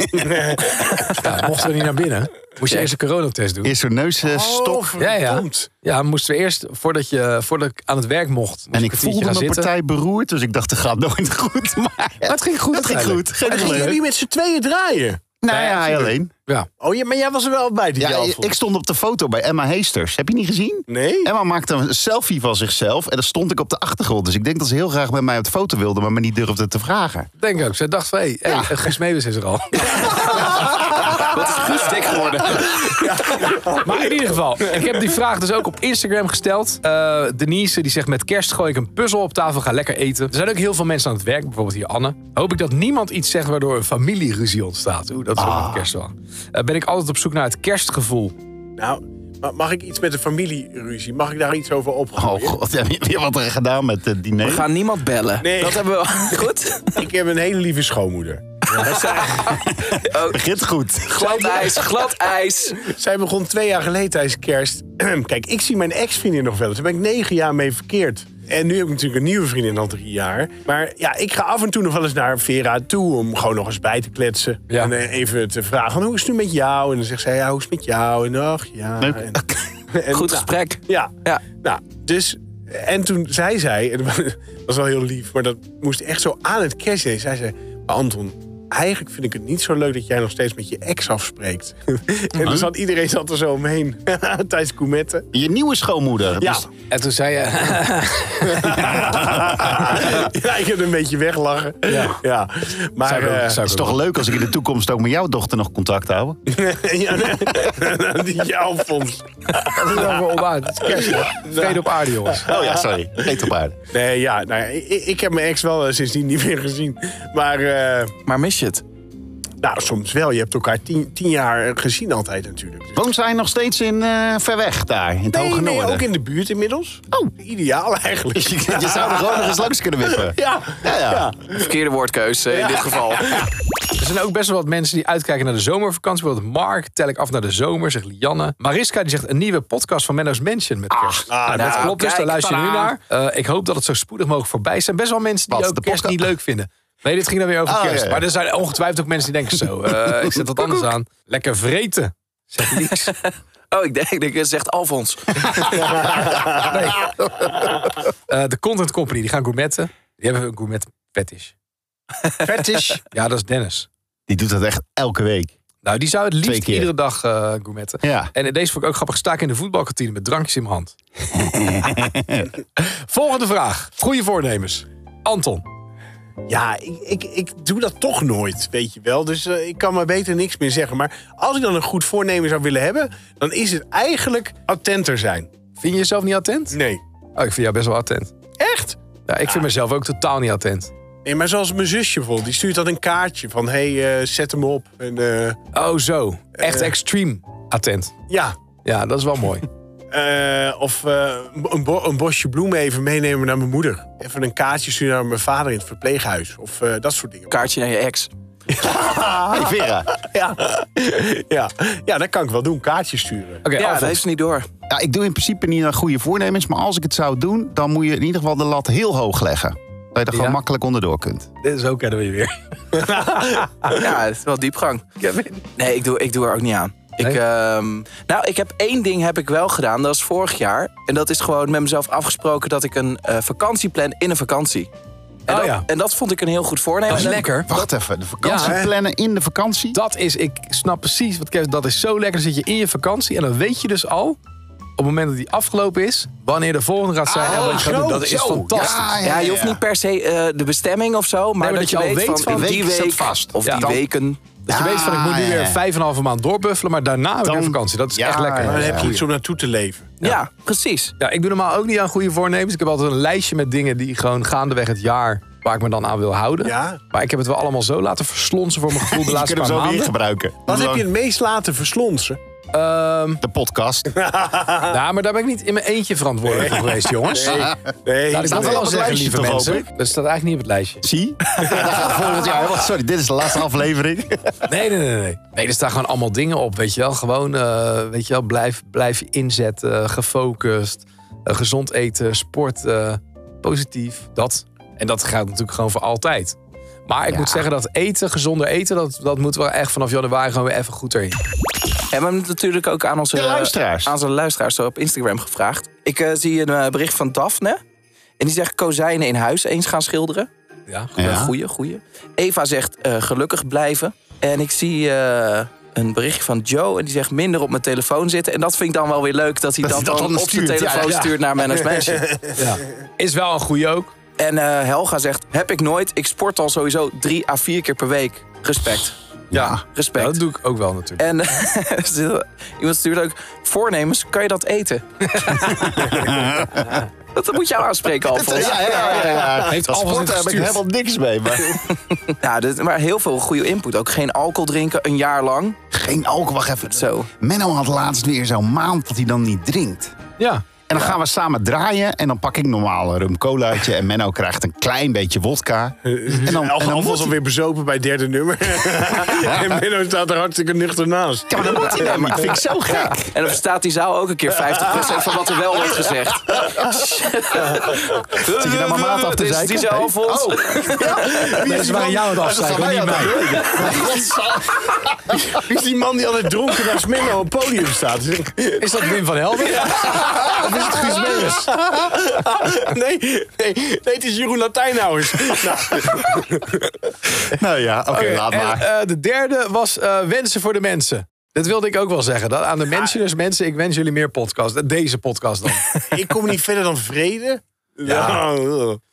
S2: ja, mochten we niet naar binnen, moest je eerst een coronatest doen.
S5: Eerst zo'n eh,
S2: Oh.
S5: neusstok.
S3: Stok.
S2: Ja, ja.
S3: verdomd.
S2: Ja, moesten we eerst, voordat, je, voordat ik aan het werk mocht, moest
S5: en
S2: ik
S5: ik
S2: een kwartiertje
S5: voelde
S2: gaan
S5: mijn
S2: zitten.
S5: partij beroerd, dus ik dacht, dat gaat nooit goed. *laughs* Maar
S2: Maar het ging goed.
S5: het ging
S2: uiteindelijk.
S5: goed. Geen
S3: En gingen
S5: probleem.
S3: jullie met z'n tweeën draaien?
S5: Nou ja, hij alleen.
S2: Ja.
S3: Oh, ja, maar jij was er wel bij die
S5: Ja,
S3: avond.
S5: ik stond op de foto bij Emma Heesters. Heb je niet gezien?
S3: Nee?
S5: Emma maakte een selfie van zichzelf en daar stond ik op de achtergrond. Dus ik denk dat ze heel graag met mij op de foto wilde, maar me niet durfde te vragen.
S2: Denk ook. Zij dacht van, hé, hey,
S5: Ja.
S2: hey, Guus Meeuwis is er al.
S4: *laughs* Wat is goed dik geworden?
S2: Maar in ieder geval, ik heb die vraag dus ook op Instagram gesteld. Eh, Denise die zegt: Met kerst gooi ik een puzzel op tafel, ga lekker eten. Er zijn ook heel veel mensen aan het werk, bijvoorbeeld hier Anne. Hoop ik dat niemand iets zegt waardoor een familieruzie ontstaat. Oeh, dat is
S5: Ah.
S2: ook een kerst wel. Eh, ben ik altijd op zoek naar het kerstgevoel.
S3: Nou, ma- mag ik iets met de familieruzie? Mag ik daar iets over
S5: Oh
S3: opgooien?
S5: god, heb je weer wat er gedaan met eh, het diner?
S4: We gaan niemand bellen.
S3: Nee.
S4: Dat hebben we *laughs*
S2: *laughs*
S4: goed.
S3: ik heb een hele lieve schoonmoeder.
S5: Begint goed.
S4: Glad ijs, glad ijs.
S3: Zij begon twee jaar geleden tijdens kerst. *clears throat* Kijk, ik zie mijn ex-vriendin nog wel eens. Daar ben ik negen jaar mee verkeerd. En nu heb ik natuurlijk een nieuwe vriendin al drie jaar. Maar ja, ik ga af en toe nog wel eens naar Vera toe... om gewoon nog eens bij te kletsen.
S2: Ja.
S3: En eh, even te vragen, hoe is het nu met jou? En dan zegt zij, ja, hoe is het met jou? En ach, ja.
S5: Leuk.
S3: En, en, *laughs*
S4: Goed
S3: nou,
S4: gesprek.
S3: Ja.
S4: Ja.
S3: Nou, dus... En toen zei zij, en *laughs* dat was wel heel lief... maar dat moest echt zo aan het kerstje. Zij zei, maar Anton, eigenlijk vind ik het niet zo leuk... dat jij nog steeds met je ex afspreekt. *laughs* en dan zat iedereen zat er zo omheen. *laughs* Tijdens coumetten.
S5: Je nieuwe schoonmoeder.
S3: Ja.
S5: Dus-
S2: En toen zei je:
S3: *laughs*
S2: *laughs*
S3: ja, ik heb een beetje weglachen. Ja. Maar...
S2: Zou ik ook-
S3: eh,
S2: zou
S5: Het is toch leuk als ik in de toekomst ook met jouw dochter nog contact
S3: *laughs*
S5: hou?
S3: ja, nee. *laughs* die jou, Fons.
S2: Dat is wel voor onaard. Het is kerst. hoor. Vrede op aarde, jongens.
S5: Oh ja, sorry. Eet op aarde.
S3: Nee, ja, nou, ja, ik, ik heb mijn ex wel eh, sindsdien niet meer gezien. Maar... eh,
S4: Maar mis je het?
S3: Nou, soms wel. Je hebt elkaar tien, tien jaar gezien altijd natuurlijk. Dus-
S5: Woont zij nog steeds in eh Verweg daar, nou in het
S3: Nee,
S5: Hoge
S3: nee,
S5: Noorden?
S3: ook in de buurt inmiddels. Oh. Ideaal eigenlijk.
S5: *laughs* je, je zou er gewoon nog eens langs kunnen wippen.
S3: *laughs* Ja.
S5: Ja, ja.
S4: Verkeerde woordkeus eh, in dit geval.
S2: Er zijn ook best wel wat mensen die uitkijken naar de zomervakantie. Bijvoorbeeld Mark, tel ik af naar de zomer, zegt Lianne. Mariska, die zegt een nieuwe podcast van Menno's Mansion met kerst.
S3: ah,
S2: dat
S4: nou,
S2: klopt dus, daar
S4: kijk,
S2: luister je nu
S4: tadaa.
S2: naar. Eh, ik hoop dat het zo spoedig mogelijk voorbij is. Er zijn best wel mensen die
S5: Wat,
S2: ook
S5: de
S2: kerst
S5: podcast-
S2: niet leuk vinden. Nee, dit ging dan weer over
S5: Ah,
S2: kerst.
S5: ja, ja.
S2: Maar er zijn ongetwijfeld ook mensen die denken zo. eh, ik zet wat anders aan. Lekker vreten. Zegt niks.
S4: Oh, ik denk, ik denk, het zegt Alfons.
S2: Nee. Eh, de content company, die gaan gourmetten. Die hebben een gourmet fetish. Fetish? Ja, dat is Dennis.
S5: Die doet dat echt elke week.
S2: Nou, die zou het
S5: Twee
S2: liefst
S5: keer.
S2: iedere dag eh gourmetten.
S5: Ja.
S2: En deze vond ik ook grappig. Sta ik in de voetbalkantine met drankjes in mijn hand. Volgende vraag. Goede voornemens. Anton.
S3: Ja, ik, ik, ik doe dat toch nooit, weet je wel. Dus eh, ik kan maar beter niks meer zeggen. Maar als ik dan een goed voornemen zou willen hebben... dan is het eigenlijk attenter zijn.
S2: Vind je jezelf niet attent?
S3: Nee.
S2: Oh, ik vind jou best wel attent.
S3: Echt?
S2: Ja, ik vind mezelf ook totaal niet attent.
S3: Nee, maar zoals mijn zusje bijvoorbeeld. Die stuurt dan een kaartje van... hé, hey, eh, zet hem op. En, eh,
S2: Oh, zo. Echt
S3: Eh.
S2: extreem attent.
S3: ja,
S2: Ja, dat is wel mooi.
S3: Eh, of eh, een, bo- een bosje bloemen even meenemen naar mijn moeder. Even een kaartje sturen naar mijn vader in het verpleeghuis. Of eh, dat soort dingen.
S4: Kaartje naar je ex.
S5: Hey Vera.
S3: Ja. *laughs* ja. ja, dat kan ik wel doen. Kaartjes sturen.
S2: Oké,
S4: Ja,
S2: Alfons.
S4: dat heeft ze niet door.
S5: Ja, ik doe in principe niet aan goede voornemens. Maar als ik het zou doen, dan moet je in ieder geval de lat heel hoog leggen. Dat je er gewoon
S2: Ja.
S5: makkelijk onderdoor kunt.
S2: Dit is ook kennen we je weer.
S4: Ja, het is wel diepgang. Nee, ik doe, ik doe er ook niet aan. Ik,
S2: Nee?
S4: ehm, nou, ik heb één ding heb ik wel gedaan. Dat is vorig jaar. En dat is gewoon met mezelf afgesproken dat ik een eh, vakantie plan in een vakantie. En,
S2: Oh
S4: dat,
S2: ja.
S4: en dat vond ik een heel goed voornemen.
S2: Dat is
S4: En-
S2: lekker.
S5: Wacht even, de vakantie
S2: Ja, hè?
S5: plannen in de vakantie?
S2: *laughs* Dat is, ik snap precies wat Kevin, dat is zo lekker. Dan zit je in je vakantie en dan weet je dus al, op het moment dat die afgelopen is, wanneer de volgende gaat zijn en wat je gaat doen. Dat is
S5: zo.
S2: fantastisch.
S5: Ja,
S4: Ja, je hoeft niet per se eh, de bestemming of zo. Maar,
S2: maar
S4: dat, je, al weet van,
S2: van,
S4: in
S5: een
S4: die
S5: week staat
S4: week
S5: vast.
S4: of
S2: Ja,
S4: die
S2: dan-
S4: weken.
S2: Dus je weet van, ik moet nu
S5: Ah, ja.
S2: weer vijf en een halve maand doorbuffelen, maar daarna weer
S5: Dan-
S2: vakantie. Dat is
S5: Ja,
S2: echt lekker.
S5: ja,
S3: Dan
S5: ja.
S3: heb je iets om naartoe te leven.
S4: Ja, precies.
S2: Ja, ik doe normaal ook niet aan goede voornemens. Ik heb altijd een lijstje met dingen die gewoon gaandeweg het jaar waar ik me dan aan wil houden.
S3: Ja.
S2: Maar ik heb het wel allemaal zo laten verslonsen voor mijn gevoel de
S5: *laughs* Je
S2: laatste
S5: kunt hem
S2: paar
S5: zo weer
S2: maanden.
S5: gebruiken.
S3: Wat
S5: Hoe
S3: heb je
S5: lang?
S3: het meest laten verslonsen?
S2: Ehm
S5: De podcast.
S2: nou, maar daar ben ik niet in mijn eentje verantwoordelijk voor geweest, jongens.
S3: Nee,
S2: Laat ik
S5: staat
S2: dat
S5: wel
S2: wel
S5: op het
S2: zeggen,
S5: lijstje
S2: lieve
S5: toch,
S2: mensen.
S5: hoop
S2: Dat staat eigenlijk niet op het lijstje.
S5: Zie? Volgend jaar. Wacht, Sorry, dit is de laatste aflevering.
S2: Nee, nee, nee, nee. Nee, er staan gewoon allemaal dingen op, weet je wel. Gewoon, eh, weet je wel, blijf, blijf je inzetten, gefocust, eh, gezond eten, sport, eh, positief, dat. En dat gaat natuurlijk gewoon voor altijd. Maar ik moet zeggen dat eten, gezonder eten, dat, dat moet wel echt vanaf januari gewoon weer even goed erin.
S4: En we hebben het natuurlijk ook aan onze
S5: De luisteraars.
S4: Aan onze luisteraars zo op Instagram gevraagd. Ik eh, zie een eh, bericht van Daphne. En die zegt kozijnen in huis eens gaan schilderen.
S2: Ja.
S4: Ja. Goeie, goeie. Eva zegt eh, gelukkig blijven. En ik zie eh, een berichtje van Joe. En die zegt minder op mijn telefoon zitten. En dat vind ik dan wel weer leuk. Dat hij
S5: Dat
S4: dat,
S5: hij dat
S4: dan
S5: dan
S4: op zijn
S5: stuurt. Ja,
S4: telefoon
S5: ja.
S4: stuurt naar
S5: *laughs*
S4: mijn als meisje.
S2: ja. Is wel een goeie ook.
S4: En eh, Helga zegt, heb ik nooit. Ik sport al sowieso drie à vier keer per week. Respect.
S2: Ja.
S4: Respect.
S2: Ja, dat doe ik ook wel natuurlijk.
S4: En *laughs* dus iemand stuurt ook, voornemens, kan je dat
S5: *laughs*
S4: eten? dat dat moet jou aanspreken,
S5: *laughs* Ja,
S4: Alfons.
S5: ja, ja, ja.
S2: Heeft
S5: Dat
S2: Alfons
S5: sport
S2: het
S5: heb ik
S2: gestuurd?
S5: helemaal niks mee. Maar
S4: Ja, dit- maar heel veel goede input. Ook geen alcohol drinken, een jaar lang.
S5: geen alcohol, wacht even.
S4: Zo.
S5: Menno had laatst weer zo'n maand dat hij dan niet drinkt.
S2: Ja.
S5: En dan gaan we samen draaien en dan pak ik normaal een rum colaatje en Menno krijgt een klein beetje wodka. En dan, en
S3: Elke
S5: dan
S3: was
S5: moet hij,
S3: alweer bezopen bij het derde nummer.
S2: *laughs*
S3: en Menno staat er hartstikke nuchter naast.
S5: ja, maar dan moet hij dan, maar dat vind ik zo gek.
S4: En dan verstaat die zaal ook een keer 50% van wat er wel wordt gezegd.
S5: Zit je nou maar maat af te
S4: Dit is
S5: zeiken?
S4: die zaal vol.
S5: Oh. Ja. Wie
S2: dat is waar jou het afzeiken, niet *laughs*
S3: Wie is die man die altijd dronken naast Menno op het podium staat?
S2: Is dat Wim van Helden? *laughs*
S3: Of is het Guus Meeuwis? nee, nee, nee, het is Jeroen Latijnhouwers. Nou,
S5: Nou ja, oké, laat
S2: En,
S5: maar.
S2: eh, de derde was eh, wensen voor de mensen. Dat wilde ik ook wel zeggen. Dat aan de mensen, dus mensen, ik wens jullie meer podcast. Deze podcast dan.
S5: *laughs*
S3: eh, ik kom niet verder dan vrede.
S2: Ja.
S3: Ja,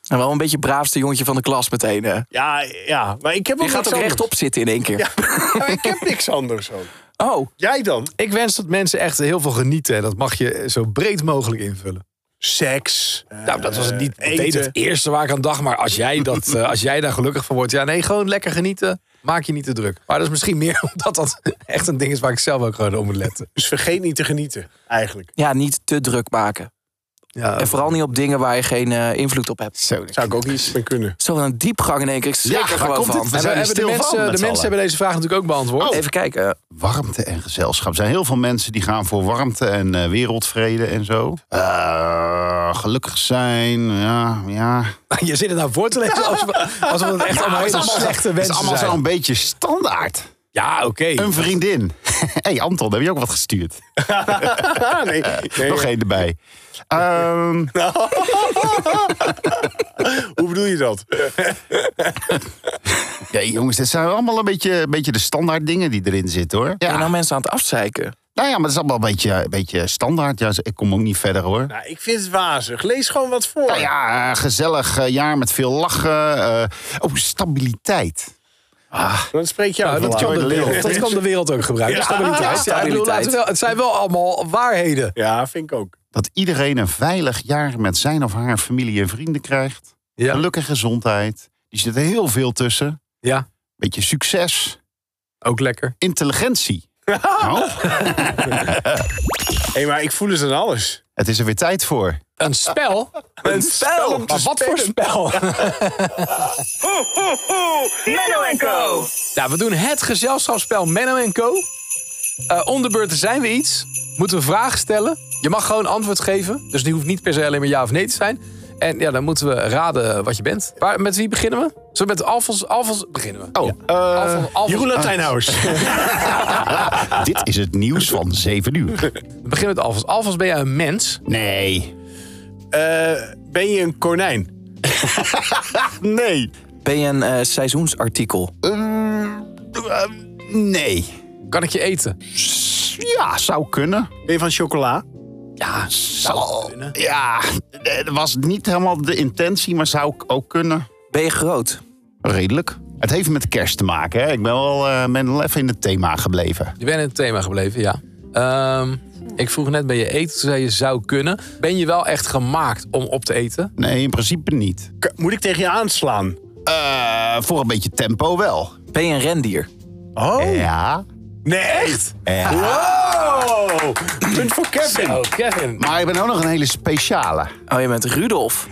S4: En wel een beetje het braafste jongetje van de klas meteen. hè.
S3: ja, ja, maar ik heb ook
S4: Die gaat
S3: niks
S4: ook
S3: anders.
S4: rechtop zitten in één keer.
S3: Maar ik heb niks anders ook.
S4: Oh,
S3: Jij dan?
S2: Ik wens dat mensen echt heel veel genieten. En dat mag je zo breed mogelijk invullen.
S3: Seks. eh,
S2: nou, dat was het niet
S3: eten.
S2: meteen het eerste waar ik aan dacht. Maar als jij,
S5: *laughs*
S2: dat, eh, als jij daar gelukkig van wordt. Ja, nee, gewoon lekker genieten. Maak je niet te druk. Maar dat is misschien meer *laughs* omdat dat echt een ding is waar ik zelf ook gewoon op moet letten.
S3: Dus vergeet niet te genieten, eigenlijk.
S4: ja, niet te druk maken.
S2: Ja,
S4: En vooral niet op dingen waar je geen eh, invloed op hebt.
S5: Zo,
S3: Zou ik ook iets mee kunnen.
S4: Zo een diepgang in één keer. Ik schrik
S5: Ja,
S4: er
S5: waar
S4: gewoon
S5: komt
S4: van.
S5: dit
S2: en Eh, we
S5: zijn er
S2: hebben de
S5: stil van
S2: mensen,
S5: met
S2: de
S5: z'n
S2: mensen
S5: allen. Oh.
S2: hebben deze vraag natuurlijk ook beantwoord.
S4: Even kijken. eh,
S5: warmte en gezelschap. Er zijn heel veel mensen die gaan voor warmte en eh, wereldvrede en zo. Eh, gelukkig zijn, ja, ja.
S2: *laughs* Je zit er nou voor te lezen alsof, alsof
S5: *laughs*
S2: het echt allemaal hele slechte
S5: Het is
S2: wensen
S5: allemaal
S2: zijn.
S5: zo'n beetje standaard.
S2: Ja, oké.
S5: Een vriendin. *laughs* Hé hey Anton, heb je ook wat gestuurd?
S3: *laughs* Ah, nee. nee.
S5: Nog één erbij. Ehm,
S3: Hoe bedoel je dat?
S5: Ja, jongens, dit zijn allemaal een beetje, een beetje de standaard dingen die erin zitten, hoor. Ja,
S4: En nou
S5: nou,
S4: mensen aan het afzeiken.
S5: ja, maar dat is allemaal een beetje, een beetje standaard. Ja, ik kom ook niet verder, hoor.
S3: Nou, ik vind het wazig. Lees gewoon wat voor.
S5: Nou ja, eh, gezellig eh, jaar met veel lachen. eh oh, stabiliteit.
S3: Dan spreek je
S2: Nou,
S3: uit.
S2: dat, kan de wereld, dat kan de wereld ook gebruiken.
S3: Ja.
S2: Stabiliteit. Ja, ik bedoel, laten we wel- het zijn wel allemaal waarheden.
S3: Ja, vind ik ook.
S5: Dat iedereen een veilig jaar met zijn of haar familie en vrienden krijgt.
S2: Ja.
S5: Geluk en gezondheid. Die zit er heel veel tussen.
S2: ja,
S5: Beetje succes.
S2: ook lekker.
S5: Intelligentie. Nou,
S3: Hé, maar ik voel het aan alles.
S5: het is er weer tijd voor.
S2: Een spel?
S4: Een spel!
S2: Maar wat voor *laughs* spel? Ja, Nou, we doen het gezelschapsspel Menno Co. Eh om de beurt zijn we iets. Moeten we vragen stellen. Je mag gewoon antwoord geven. Dus die hoeft niet per se alleen maar ja of nee te zijn. En ja, dan moeten we raden wat je bent. Waar, met wie beginnen we? Zullen we met Alfons, Alfons beginnen we?
S5: Oh, eh,
S2: Alfons, Alfons-
S3: Jeroen
S2: Ah,
S3: Latijnhuis.
S5: dit is het nieuws van 7 uur.
S2: we beginnen met Alfons. Alfons, ben jij een mens?
S5: Nee.
S3: *laughs* Eh, ben je
S2: *laughs*
S3: een konijn?
S5: Nee.
S4: Ben je een eh, seizoensartikel?
S5: Eh, nee.
S2: Kan ik je eten?
S5: Ja, zou kunnen.
S3: Ben je van chocola?
S5: Ja, zou kunnen. Ja, eh, dat was niet helemaal de intentie, maar zou ik ook kunnen.
S4: Ben je groot?
S5: Redelijk. Het heeft met kerst te maken. Hè? Ik ben wel, eh, ben wel even in het thema gebleven.
S2: Je bent in het thema gebleven, ja. Ehm, ik vroeg net, ben je eten? Toen zei je, zou kunnen. Ben je wel echt gemaakt om op te eten?
S5: Nee, in principe niet.
S3: K- Moet ik tegen je aanslaan?
S5: Eh, voor een beetje tempo wel.
S4: Ben je een rendier?
S3: Oh,
S5: Ja.
S3: nee, echt? Wow! Punt voor Kevin.
S2: Oh, Kevin.
S5: Maar ik ben ook nog een hele speciale.
S4: Oh, je bent Rudolf.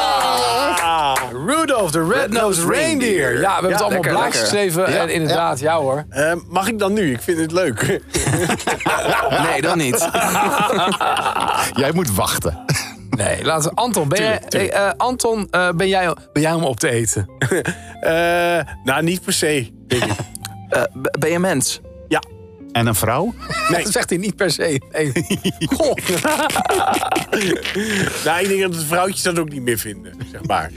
S3: Ah.
S2: Rudolph, de Red-Nosed Reindeer. Ja, we hebben het allemaal
S4: lekker,
S2: blaas
S4: lekker.
S2: geschreven.
S5: Ja,
S2: en inderdaad, ja, hoor.
S3: Eh, mag ik dan nu? Ik vind het leuk.
S4: Nee, dan niet. *laughs*
S5: Jij moet wachten.
S2: Nee, laten we... Anton, ben jij, eh, eh, Anton, eh, ben, jij, ben jij om op te eten?
S3: Eh, nou, niet per se. denk ik.
S4: Eh, b- ben je een mens?
S3: Ja.
S5: En een vrouw?
S3: Nee.
S2: *laughs* Dat zegt hij niet per se. Nee. Goh.
S3: Nou, ik denk dat de vrouwtjes dat ook niet meer vinden, zeg maar.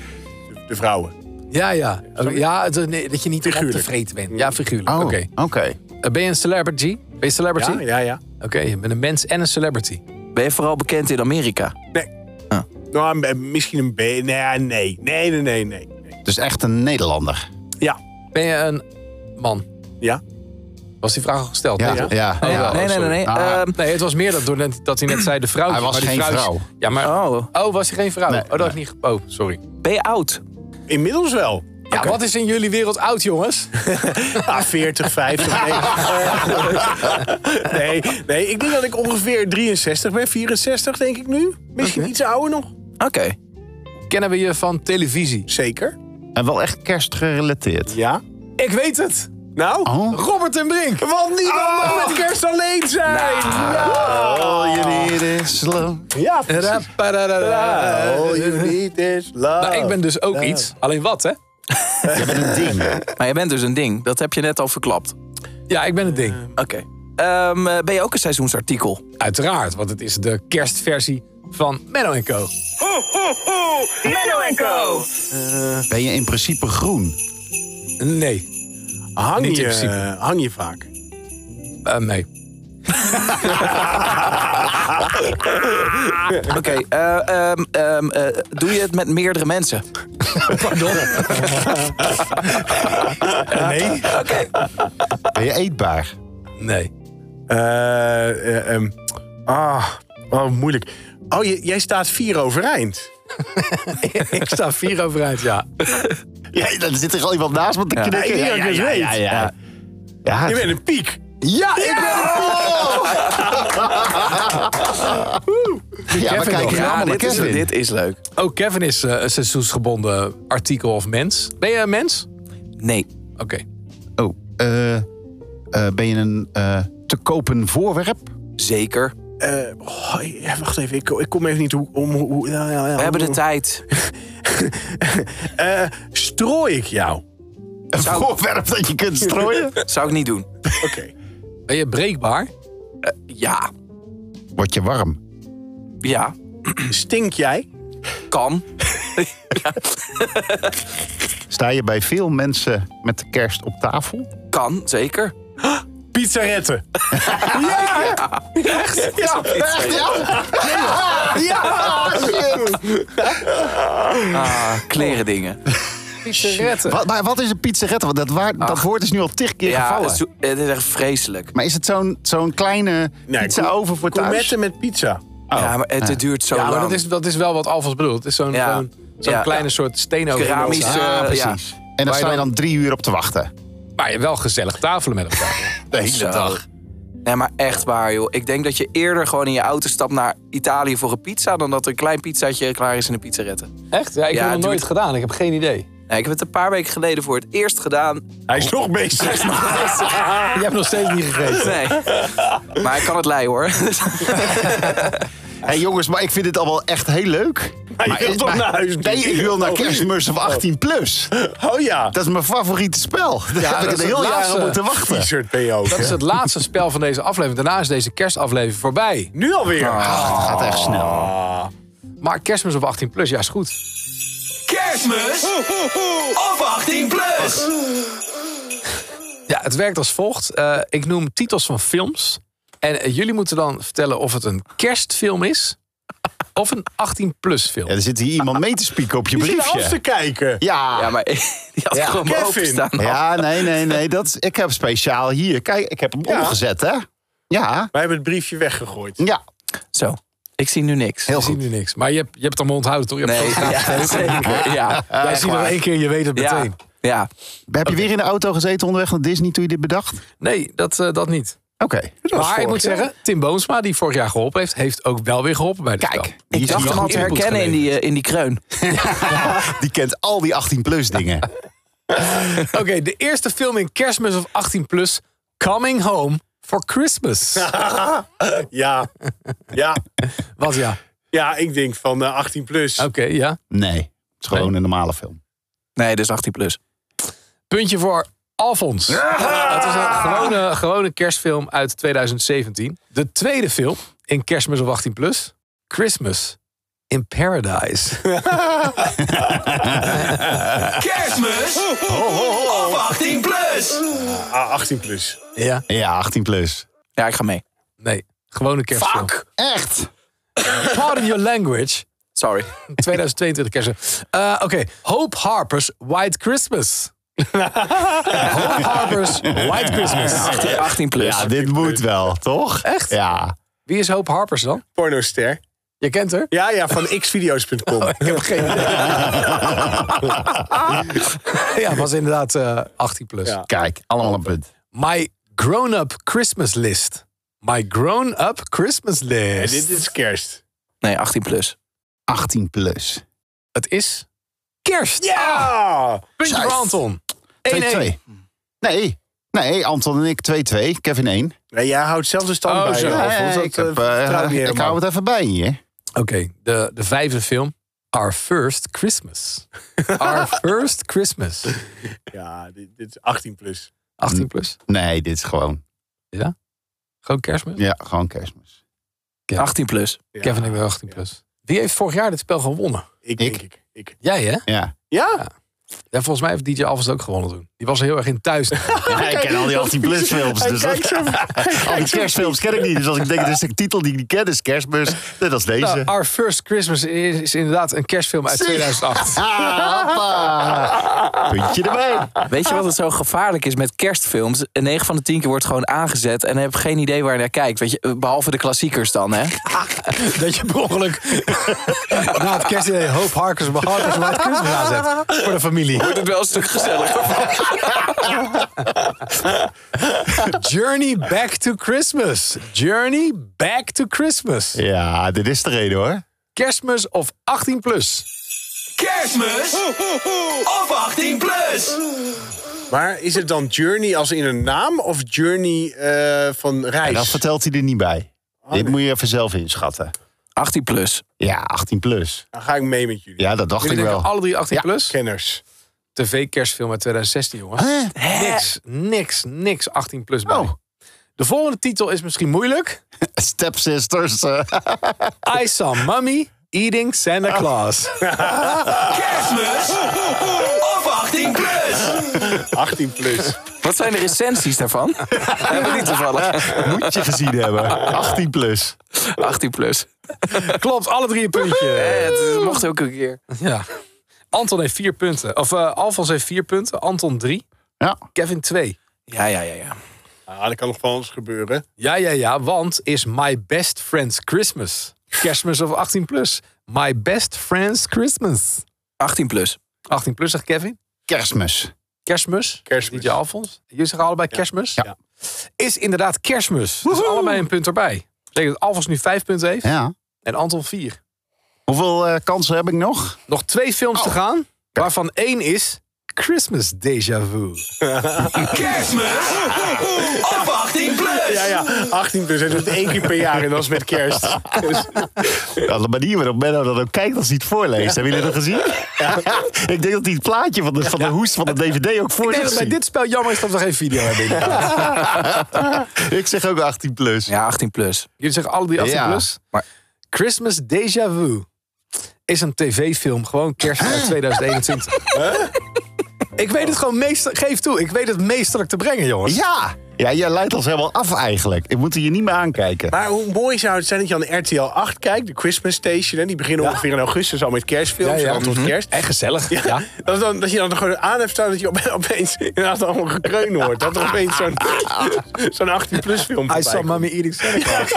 S3: De, de vrouwen.
S2: Ja, ja. Ja, het- eh, nee, dat je niet
S3: Figuurlijk.
S2: op te vreten bent. Ja, figuurlijk.
S5: Oh,
S2: Oké.
S5: oké.
S2: Eh, ben je een celebrity? Ben je een celebrity?
S3: Ja, ja, ja.
S2: Oké, je bent een mens en een celebrity.
S4: Ben je vooral bekend in Amerika?
S5: Oh,
S2: Ah.
S3: Nou, m- eh, misschien een B. Nee, nee, nee, nee, nee, nee. nee.
S5: Dus echt een Nederlander.
S3: Ja,
S2: Ben je een man?
S3: ja.
S2: Was die vraag al gesteld?
S5: Ja, ja.
S2: toch? Oh, ja.
S5: ja.
S4: nee, nee, nee. nee.
S5: Ah.
S4: Ehm,
S2: Nee, het was meer dat, door net, dat hij net zei de vrouw.
S5: Hij was
S2: die
S5: geen
S2: vrouwtjes-
S5: vrouw.
S2: Ja, maar... Oh.
S4: oh,
S2: was hij geen vrouw?
S5: Nee,
S2: oh, dat had ik niet... ge- Oh, sorry.
S4: ben je oud?
S3: Inmiddels wel.
S2: Ja, wat is in jullie wereld oud, jongens?
S3: *laughs* Ah,
S2: *laughs*
S3: 40, 50. Nee. Eh, nee, nee, ik denk dat ik ongeveer 63 ben, 64 denk ik nu. Misschien iets ouder nog.
S4: Oké.
S2: Kennen we je van televisie?
S3: Zeker.
S5: En wel echt kerstgerelateerd.
S3: Ja.
S2: Ik weet het!
S3: Nou?
S5: Oh.
S2: Robert en Brink!
S3: Want niemand
S2: Oh.
S3: mag met kerst alleen zijn.
S2: Nou.
S3: Ja.
S5: All you need is love.
S3: Ja, precies.
S2: Rapararara.
S3: All you need is love.
S2: Nou, ik ben dus ook iets. Alleen wat, hè?
S5: Je bent een ding.
S4: Maar je bent dus een ding. Dat heb je net al verklapt.
S2: Ja, ik ben het ding.
S4: Oké. Ehm, eh, ben je ook een seizoensartikel?
S2: Uiteraard, want het is de kerstversie van Menno Co.
S5: Ben je in principe groen?
S2: Nee.
S3: hang,
S2: niet in
S3: je,
S2: principe.
S3: hang je vaak.
S2: Eh, nee.
S4: Oké. eh, ehm, ehm, eh, doe je het met meerdere mensen?
S2: Pardon? *laughs*
S3: Nee.
S5: Ben je eetbaar?
S2: Nee.
S3: Eh, eh, ehm, ah, oh, moeilijk. Oh, je- jij staat vier overeind.
S2: Ik sta vier overeind, ja.
S5: Ja, dan zit er al iemand naast me te
S3: ik denk
S5: knikken.
S3: dat ik het weet.
S5: ja, ja. Ja,
S3: Je bent een piek.
S5: Ja, ik ben
S2: Kevin
S5: Ja, we kijken
S2: nog.
S5: hier
S2: Ja,
S5: allemaal naar
S4: dit, is,
S5: Kevin.
S4: dit is leuk.
S2: Ook Kevin is eh, een seizoensgebonden artikel of mens. Ben je een mens?
S4: Nee.
S2: Oké.
S5: Oh, eh, eh, ben je een eh, te kopen voorwerp?
S4: Zeker.
S3: Eh, oh, ja, wacht even, ik, ik kom even niet hoe... Om, hoe ja, ja, ja,
S4: We hebben de
S3: hoe-
S4: tijd.
S3: Eh, strooi ik jou?
S5: Een voorwerp dat je kunt strooien?
S4: Zou ik niet doen.
S3: Oké.
S2: Ben je breekbaar?
S4: Ja.
S5: Word je warm?
S4: Ja.
S3: Stink jij?
S4: Kan.
S5: Sta je bij veel mensen met de kerst op tafel?
S4: Kan, zeker.
S3: Pizzaretten.
S4: Ja,
S5: Ja!
S4: Ah, kleren dingen.
S2: Pizzeretten.
S5: Wat, maar wat is een pizzerette? Want dat, waar- dat
S4: Ach.
S5: woord is nu al tig keer
S4: Ja,
S5: gevallen.
S4: het is, het is echt vreselijk.
S5: Maar is het zo'n zo'n kleine pizza
S3: koe-
S5: over voor thuis?
S3: Gourmetten met pizza.
S4: Ja, maar het, het duurt zo
S2: Ja, maar
S4: lang.
S2: dat is, dat is wel wat Alvast bedoelt. Het is zo'n
S4: Ja.
S2: zo'n- zo'n
S4: Ja.
S2: kleine soort steenoven.
S4: Keramisch.
S5: Ah,
S4: eh, ja.
S5: precies. En
S2: Waar
S5: daar
S2: je
S5: sta je
S2: dan-
S5: dan drie uur op te wachten.
S2: Maar wel gezellig tafelen met elkaar.
S4: *laughs*
S5: De hele
S4: Zo.
S5: dag.
S4: Nee, maar echt waar, joh. Ik denk dat je eerder gewoon in je auto stapt naar Italië voor een pizza... dan dat er een klein pizzaatje klaar is in een pizzarette.
S2: Echt? Ja, ik
S4: Ja,
S2: heb het
S4: doe
S2: nooit
S4: het.
S2: gedaan. Ik heb geen idee.
S4: Nee, ik heb het een paar weken geleden voor het eerst gedaan.
S3: Hij is nog
S5: *laughs*
S3: bezig.
S2: Je
S3: Oh
S2: hebt nog steeds niet gegeten.
S4: Ah. Nee. Maar ik kan het lei, hoor.
S5: Hé hey, jongens, maar ik vind dit al wel echt heel leuk.
S3: Maar je wil toch naar huis
S5: Nee,
S3: nu?
S5: ik wil naar
S3: Oh.
S5: kerstmis of 18 plus.
S3: Oh ja.
S5: Dat is mijn favoriete spel. Daar heb
S2: dat
S5: ik
S2: is
S5: het heel
S2: het
S5: jaar
S2: laatste.
S5: op moeten wachten.
S3: T-shirt ben je ook.
S2: Dat is
S3: hè?
S2: het laatste spel van deze aflevering. Daarna is deze kerstaflevering voorbij.
S3: Nu alweer. Ah.
S5: Het gaat echt snel.
S2: Maar kerstmis op 18 plus, ja, is goed.
S7: Kerstmis of 18 plus.
S2: Ja, het werkt als volgt. Eh, ik noem titels van films. En eh, jullie moeten dan vertellen of het een kerstfilm is of een 18 plus film.
S5: Ja, er zit hier iemand mee te spieken
S2: *laughs*
S5: op je
S3: Je zit naar ons te
S5: briefje.
S3: kijken.
S5: Ja,
S4: Ja, maar *laughs* die had ik gewoon
S3: Kevin.
S4: boven staan.
S5: ja nee, nee, nee. Dat is, ik heb speciaal hier. Kijk, ik heb hem
S3: Ja.
S5: omgezet, hè? Ja,
S3: Wij hebben het briefje weggegooid.
S5: ja.
S4: Zo, ik zie nu niks.
S5: heel
S2: Ik zie
S5: goed.
S2: nu niks. Maar je hebt, je hebt het allemaal onthouden, toch? Je hebt
S4: Nee,
S2: het graag
S4: *laughs* ja,
S2: verteld.
S4: zeker. Ja,
S2: *laughs* Jij ziet nog één keer, je weet het
S4: ja,
S2: meteen.
S4: ja.
S5: Heb je weer in de auto gezeten onderweg naar Disney toen je dit bedacht? Oké.
S2: Nee, dat, eh, dat niet. Maar ik
S3: vorig
S2: moet
S3: jaar.
S2: zeggen, Tim Boonsma, die vorig jaar geholpen heeft, heeft ook wel weer geholpen bij de spel.
S5: Kijk,
S4: Ik dacht hem al te herkennen in die, eh, in die kreun.
S5: *laughs* Die kent al die 18-plus dingen.
S2: Oké, de eerste film in Kerstmis of 18 plus, Coming Home for Christmas.
S3: Ja. Ja.
S2: Wat ja?
S3: Ja, ik denk van eh, 18 plus.
S2: Oké, ja.
S5: Nee, het is gewoon een normale film.
S4: Nee, dus 18 plus.
S2: Puntje voor Alfons. Het is een gewone, gewone kerstfilm uit 2017. De tweede film in Kerstmis of 18 plus, Christmas in Paradise.
S7: Kerstmis of 18 plus.
S3: Ah, 18 plus.
S2: Ja,
S5: Ja, 18-plus.
S4: Ja, ik ga mee.
S2: nee, gewone kerstfilm.
S5: Echt?
S2: *laughs* Pardon your language.
S4: Sorry.
S2: 2022 kerst. Eh, Oké, Hope Harper's White Christmas. Hope Harper's White
S4: *laughs*
S2: Christmas.
S4: 18, 18 plus.
S5: Ja, dit moet wel, toch?
S2: Echt?
S5: Ja.
S2: Wie is Hope Harper's dan?
S3: Pornoster.
S2: Je kent
S3: *laughs*
S2: haar?
S3: Ja, ja,
S5: *laughs*
S3: van xvideo's.com.
S5: Oh,
S2: Ik heb geen idee. *laughs* ja, was inderdaad eh, 18 plus.
S3: Ja.
S5: Kijk, allemaal een punt.
S2: My grown-up Christmas list. My grown-up Christmas
S3: En
S2: list.
S3: dit is kerst.
S4: Nee, 18 plus.
S5: 18-plus.
S2: Het is kerst.
S3: Ja!
S2: Puntje voor
S5: Juist.
S2: Anton.
S5: 2-2.
S2: 1-1.
S5: Nee. Nee, Anton en ik 2-2. Kevin 1.
S3: Nee, jij houdt zelf de stand
S2: Oh,
S3: bij.
S2: zo.
S3: Ralf,
S5: Ja,
S3: want dat,
S5: ik,
S3: eh,
S5: heb, eh,
S3: vertrouw ik niet
S5: ik hou
S3: helemaal.
S5: het even bij je.
S2: Oké, de, de vijfde film. Our First
S3: *laughs*
S2: Christmas. Our First Christmas.
S3: Ja, dit, dit is 18 plus. Mm.
S2: 18 plus.
S5: Nee, dit is gewoon,
S2: Gewoon kerstmis.
S5: ja, gewoon kerstmis.
S2: Ja.
S4: 18 plus.
S3: Ja,
S2: Kevin, ik ben 18 plus. Wie heeft vorig jaar dit spel gewonnen?
S3: Ik, denk
S5: Ik?
S3: ik. ik.
S2: Jij, hè?
S5: Ja.
S3: Ja?
S2: Ja, volgens mij heeft DJ Alves ook gewonnen toen. Die was er heel erg in thuis.
S3: *laughs*
S5: Ja, ik ken al die 18-plus films. Dus
S3: Kijk
S5: dat,
S3: zo.
S5: *laughs* al die kerstfilms ken ik niet. Dus als ik denk, dat is een titel die ik niet ken, is kerstmis. Net als deze.
S2: Nou, Our First Christmas is, is inderdaad een kerstfilm uit 2008.
S5: Ah, hoppa. *laughs* Puntje erbij.
S4: Weet je wat het zo gevaarlijk is met kerstfilms? 9 van de 10 keer wordt gewoon aangezet en heb geen idee waar je naar kijkt. Weet je, behalve de klassiekers dan, *laughs* hè?
S2: *laughs* Dat je per ongeluk *laughs* na het kerstdiner Hoop Harkers op Harkers White Christmas aanzet. Voor de familie.
S4: Wordt het wel een stuk gezelliger. *laughs*
S2: Journey Back to Christmas. Journey Back to Christmas.
S5: Ja, dit is de reden hoor.
S2: Kerstmis of 18 plus.
S7: Kerstmis of 18 plus.
S3: Maar is het dan Journey als in een naam of Journey eh, van reis?
S5: En dat vertelt hij er niet bij. dit moet je even zelf inschatten.
S4: 18 plus.
S5: Ja, 18 plus.
S3: Dan ga ik mee met jullie.
S5: Ja, dat dacht
S2: Jullie
S5: ik
S2: denken
S5: wel.
S2: alle drie 18
S5: Ja.
S2: plus?
S3: Kenners.
S2: TV-kerstfilm uit 2016, jongens.
S5: Hè?
S2: Niks, niks, niks 18 plus bij.
S5: Oh.
S2: De volgende titel is misschien moeilijk.
S5: Stepsisters. eh.
S2: I Oh. *laughs* saw mommy eating Santa Claus.
S7: Kerstmis of of 18 plus.
S3: 18
S5: *laughs*
S3: plus.
S4: Wat zijn de recensies *laughs* daarvan? Hebben we niet *laughs* toevallig.
S5: Moet je gezien *laughs* hebben. 18 plus.
S4: 18 plus.
S2: Klopt, alle drie een puntje.
S4: Eh, het mocht ook een keer.
S2: Ja. Anton heeft vier punten. Of eh Alfons heeft vier punten. Anton drie.
S5: Ja.
S2: Kevin twee.
S4: Ja, ja, ja, ja.
S3: Ah, dat kan nog van ons gebeuren.
S2: Ja, ja, ja. Want is My Best Friend's Christmas. Kerstmis of 18 plus. My Best Friend's Christmas.
S4: 18 plus.
S2: 18 plus zegt Kevin.
S5: Kerstmis.
S2: Kerstmis.
S3: Kerstmis.
S2: DJ Alfons. Jullie zeggen allebei kerstmis.
S3: Ja.
S2: Is inderdaad kerstmis. Dus allebei een punt erbij. Betekent dat Alfons nu vijf punten heeft.
S5: Ja.
S2: En Anton vier.
S5: Hoeveel eh, kansen heb ik nog?
S2: Nog twee films te gaan. Waarvan één is Christmas Déjà Vu.
S7: Kerstmis of 18 plus.
S3: Ja, Nou ja, 18 plus. Hij doet het één keer per jaar en dat is met
S5: *laughs*
S3: kerst. Dus,
S5: Ja, de manier waarop Benno dat ook kijkt als hij het voorleest. Hebben jullie dat gezien? *laughs* ik denk dat hij het plaatje van de, van de hoest van de DVD ook voor
S2: Ik denk dat
S5: zich
S2: bij
S5: ziet.
S2: dit spel jammer is dat we geen video hebben.
S5: Ik zeg ook 18 plus.
S4: Ja, 18 plus.
S2: Jullie zeggen alle die 18
S5: Ja,
S2: plus.
S4: maar-
S2: Christmas Déjà Vu is een tv-film. Gewoon kerst uit 2021. Ik weet het gewoon meester... Geef toe, ik weet het meesterlijk te brengen, jongens.
S5: Ja! Ja, jij leidt ons helemaal af eigenlijk. Ik moet hier niet meer aankijken.
S3: maar hoe mooi zou het zijn dat je aan RTL 8 kijkt, de Christmas Station. Hè? Die beginnen ongeveer in augustus al met kerstfilms.
S2: Ja, ja.
S3: en dan tot kerst.
S2: En gezellig. Ja.
S3: *laughs* Dat, dan, dat je dan gewoon aan hebt staan dat je op- *laughs* opeens inderdaad allemaal gekreun hoort. Dat er opeens zo'n *laughs* zo'n 18-plus film
S2: I
S3: voorbij
S2: saw
S3: komt.
S2: mommy eating salad.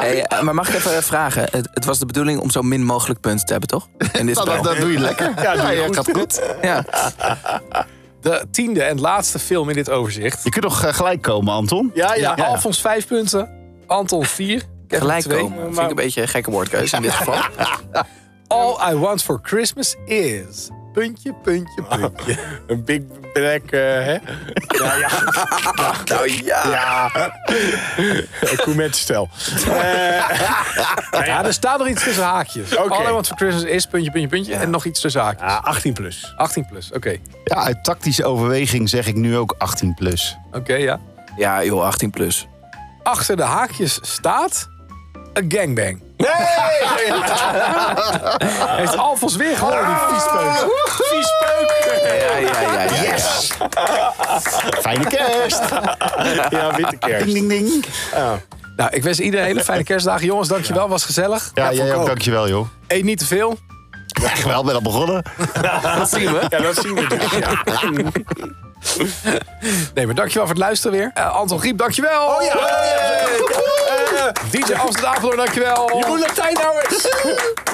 S4: Hey, eh, maar mag ik even vragen? Het, het was de bedoeling om zo min mogelijk punten te hebben, toch? *laughs* In dit
S5: Nou,
S4: spel.
S5: dat, dat doe je lekker. Ja,
S3: doe je
S5: ja,
S3: goed.
S5: gaat goed.
S4: Ja.
S2: De tiende en laatste film in dit overzicht.
S5: Je kunt nog eh, gelijk komen, Anton.
S3: Ja, ja.
S2: Ja, Alfons 5 punten. Anton 4.
S4: Gelijk komen. Vind ik een beetje een gekke woordkeuze in dit geval.
S2: All I want for Christmas is... Puntje, puntje, puntje.
S3: Een big black, eh, hè?
S4: *laughs* Nou ja.
S3: Coumette-stel.
S2: Ja, er staat nog iets tussen haakjes.
S3: Oké.
S2: All I want for Christmas is... Puntje, puntje, puntje. En nog iets tussen haakjes.
S3: Ah, 18-plus.
S2: 18 plus, oké.
S5: Ja, uit tactische overweging zeg ik nu ook 18 plus.
S2: Oké, ja.
S4: Ja, joh, 18 plus.
S2: Achter de haakjes staat... een gangbang.
S5: Ah.
S2: Heeft Alfons weer gehoord, die viespeuk.
S4: Ja, ja, ja. ja, ja.
S5: Fijne kerst!
S3: Ja, witte
S5: Ding,
S3: kerst.
S5: ding, ding.
S2: Nou, ik wens iedereen hele fijne kerstdagen. Jongens, dankjewel. Was gezellig.
S5: Ja, jij ook.
S3: ook.
S5: Dankjewel, joh.
S2: Eet niet te veel.
S5: Ja, wel ben al begonnen.
S4: Dat zien we.
S3: Ja, dat zien we dus.
S2: *laughs*
S3: Ja.
S2: Nee, maar dankjewel voor het luisteren weer. Eh, Anton Griep, dankjewel. Oh DJ Amsterdam Apeldoorn, dankjewel.
S3: Jeroen
S2: nou
S3: Latijnhouwers.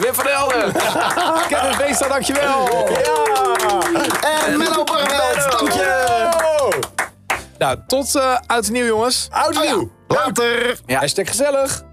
S4: Wim van Helden.
S2: Kevin Beestal, dankjewel.
S5: En Menno Barneveld, dank je.
S2: Nou, tot eh uit nieuw, jongens.
S3: Oud en nieuw.
S5: Later!
S2: Hashtag gezellig.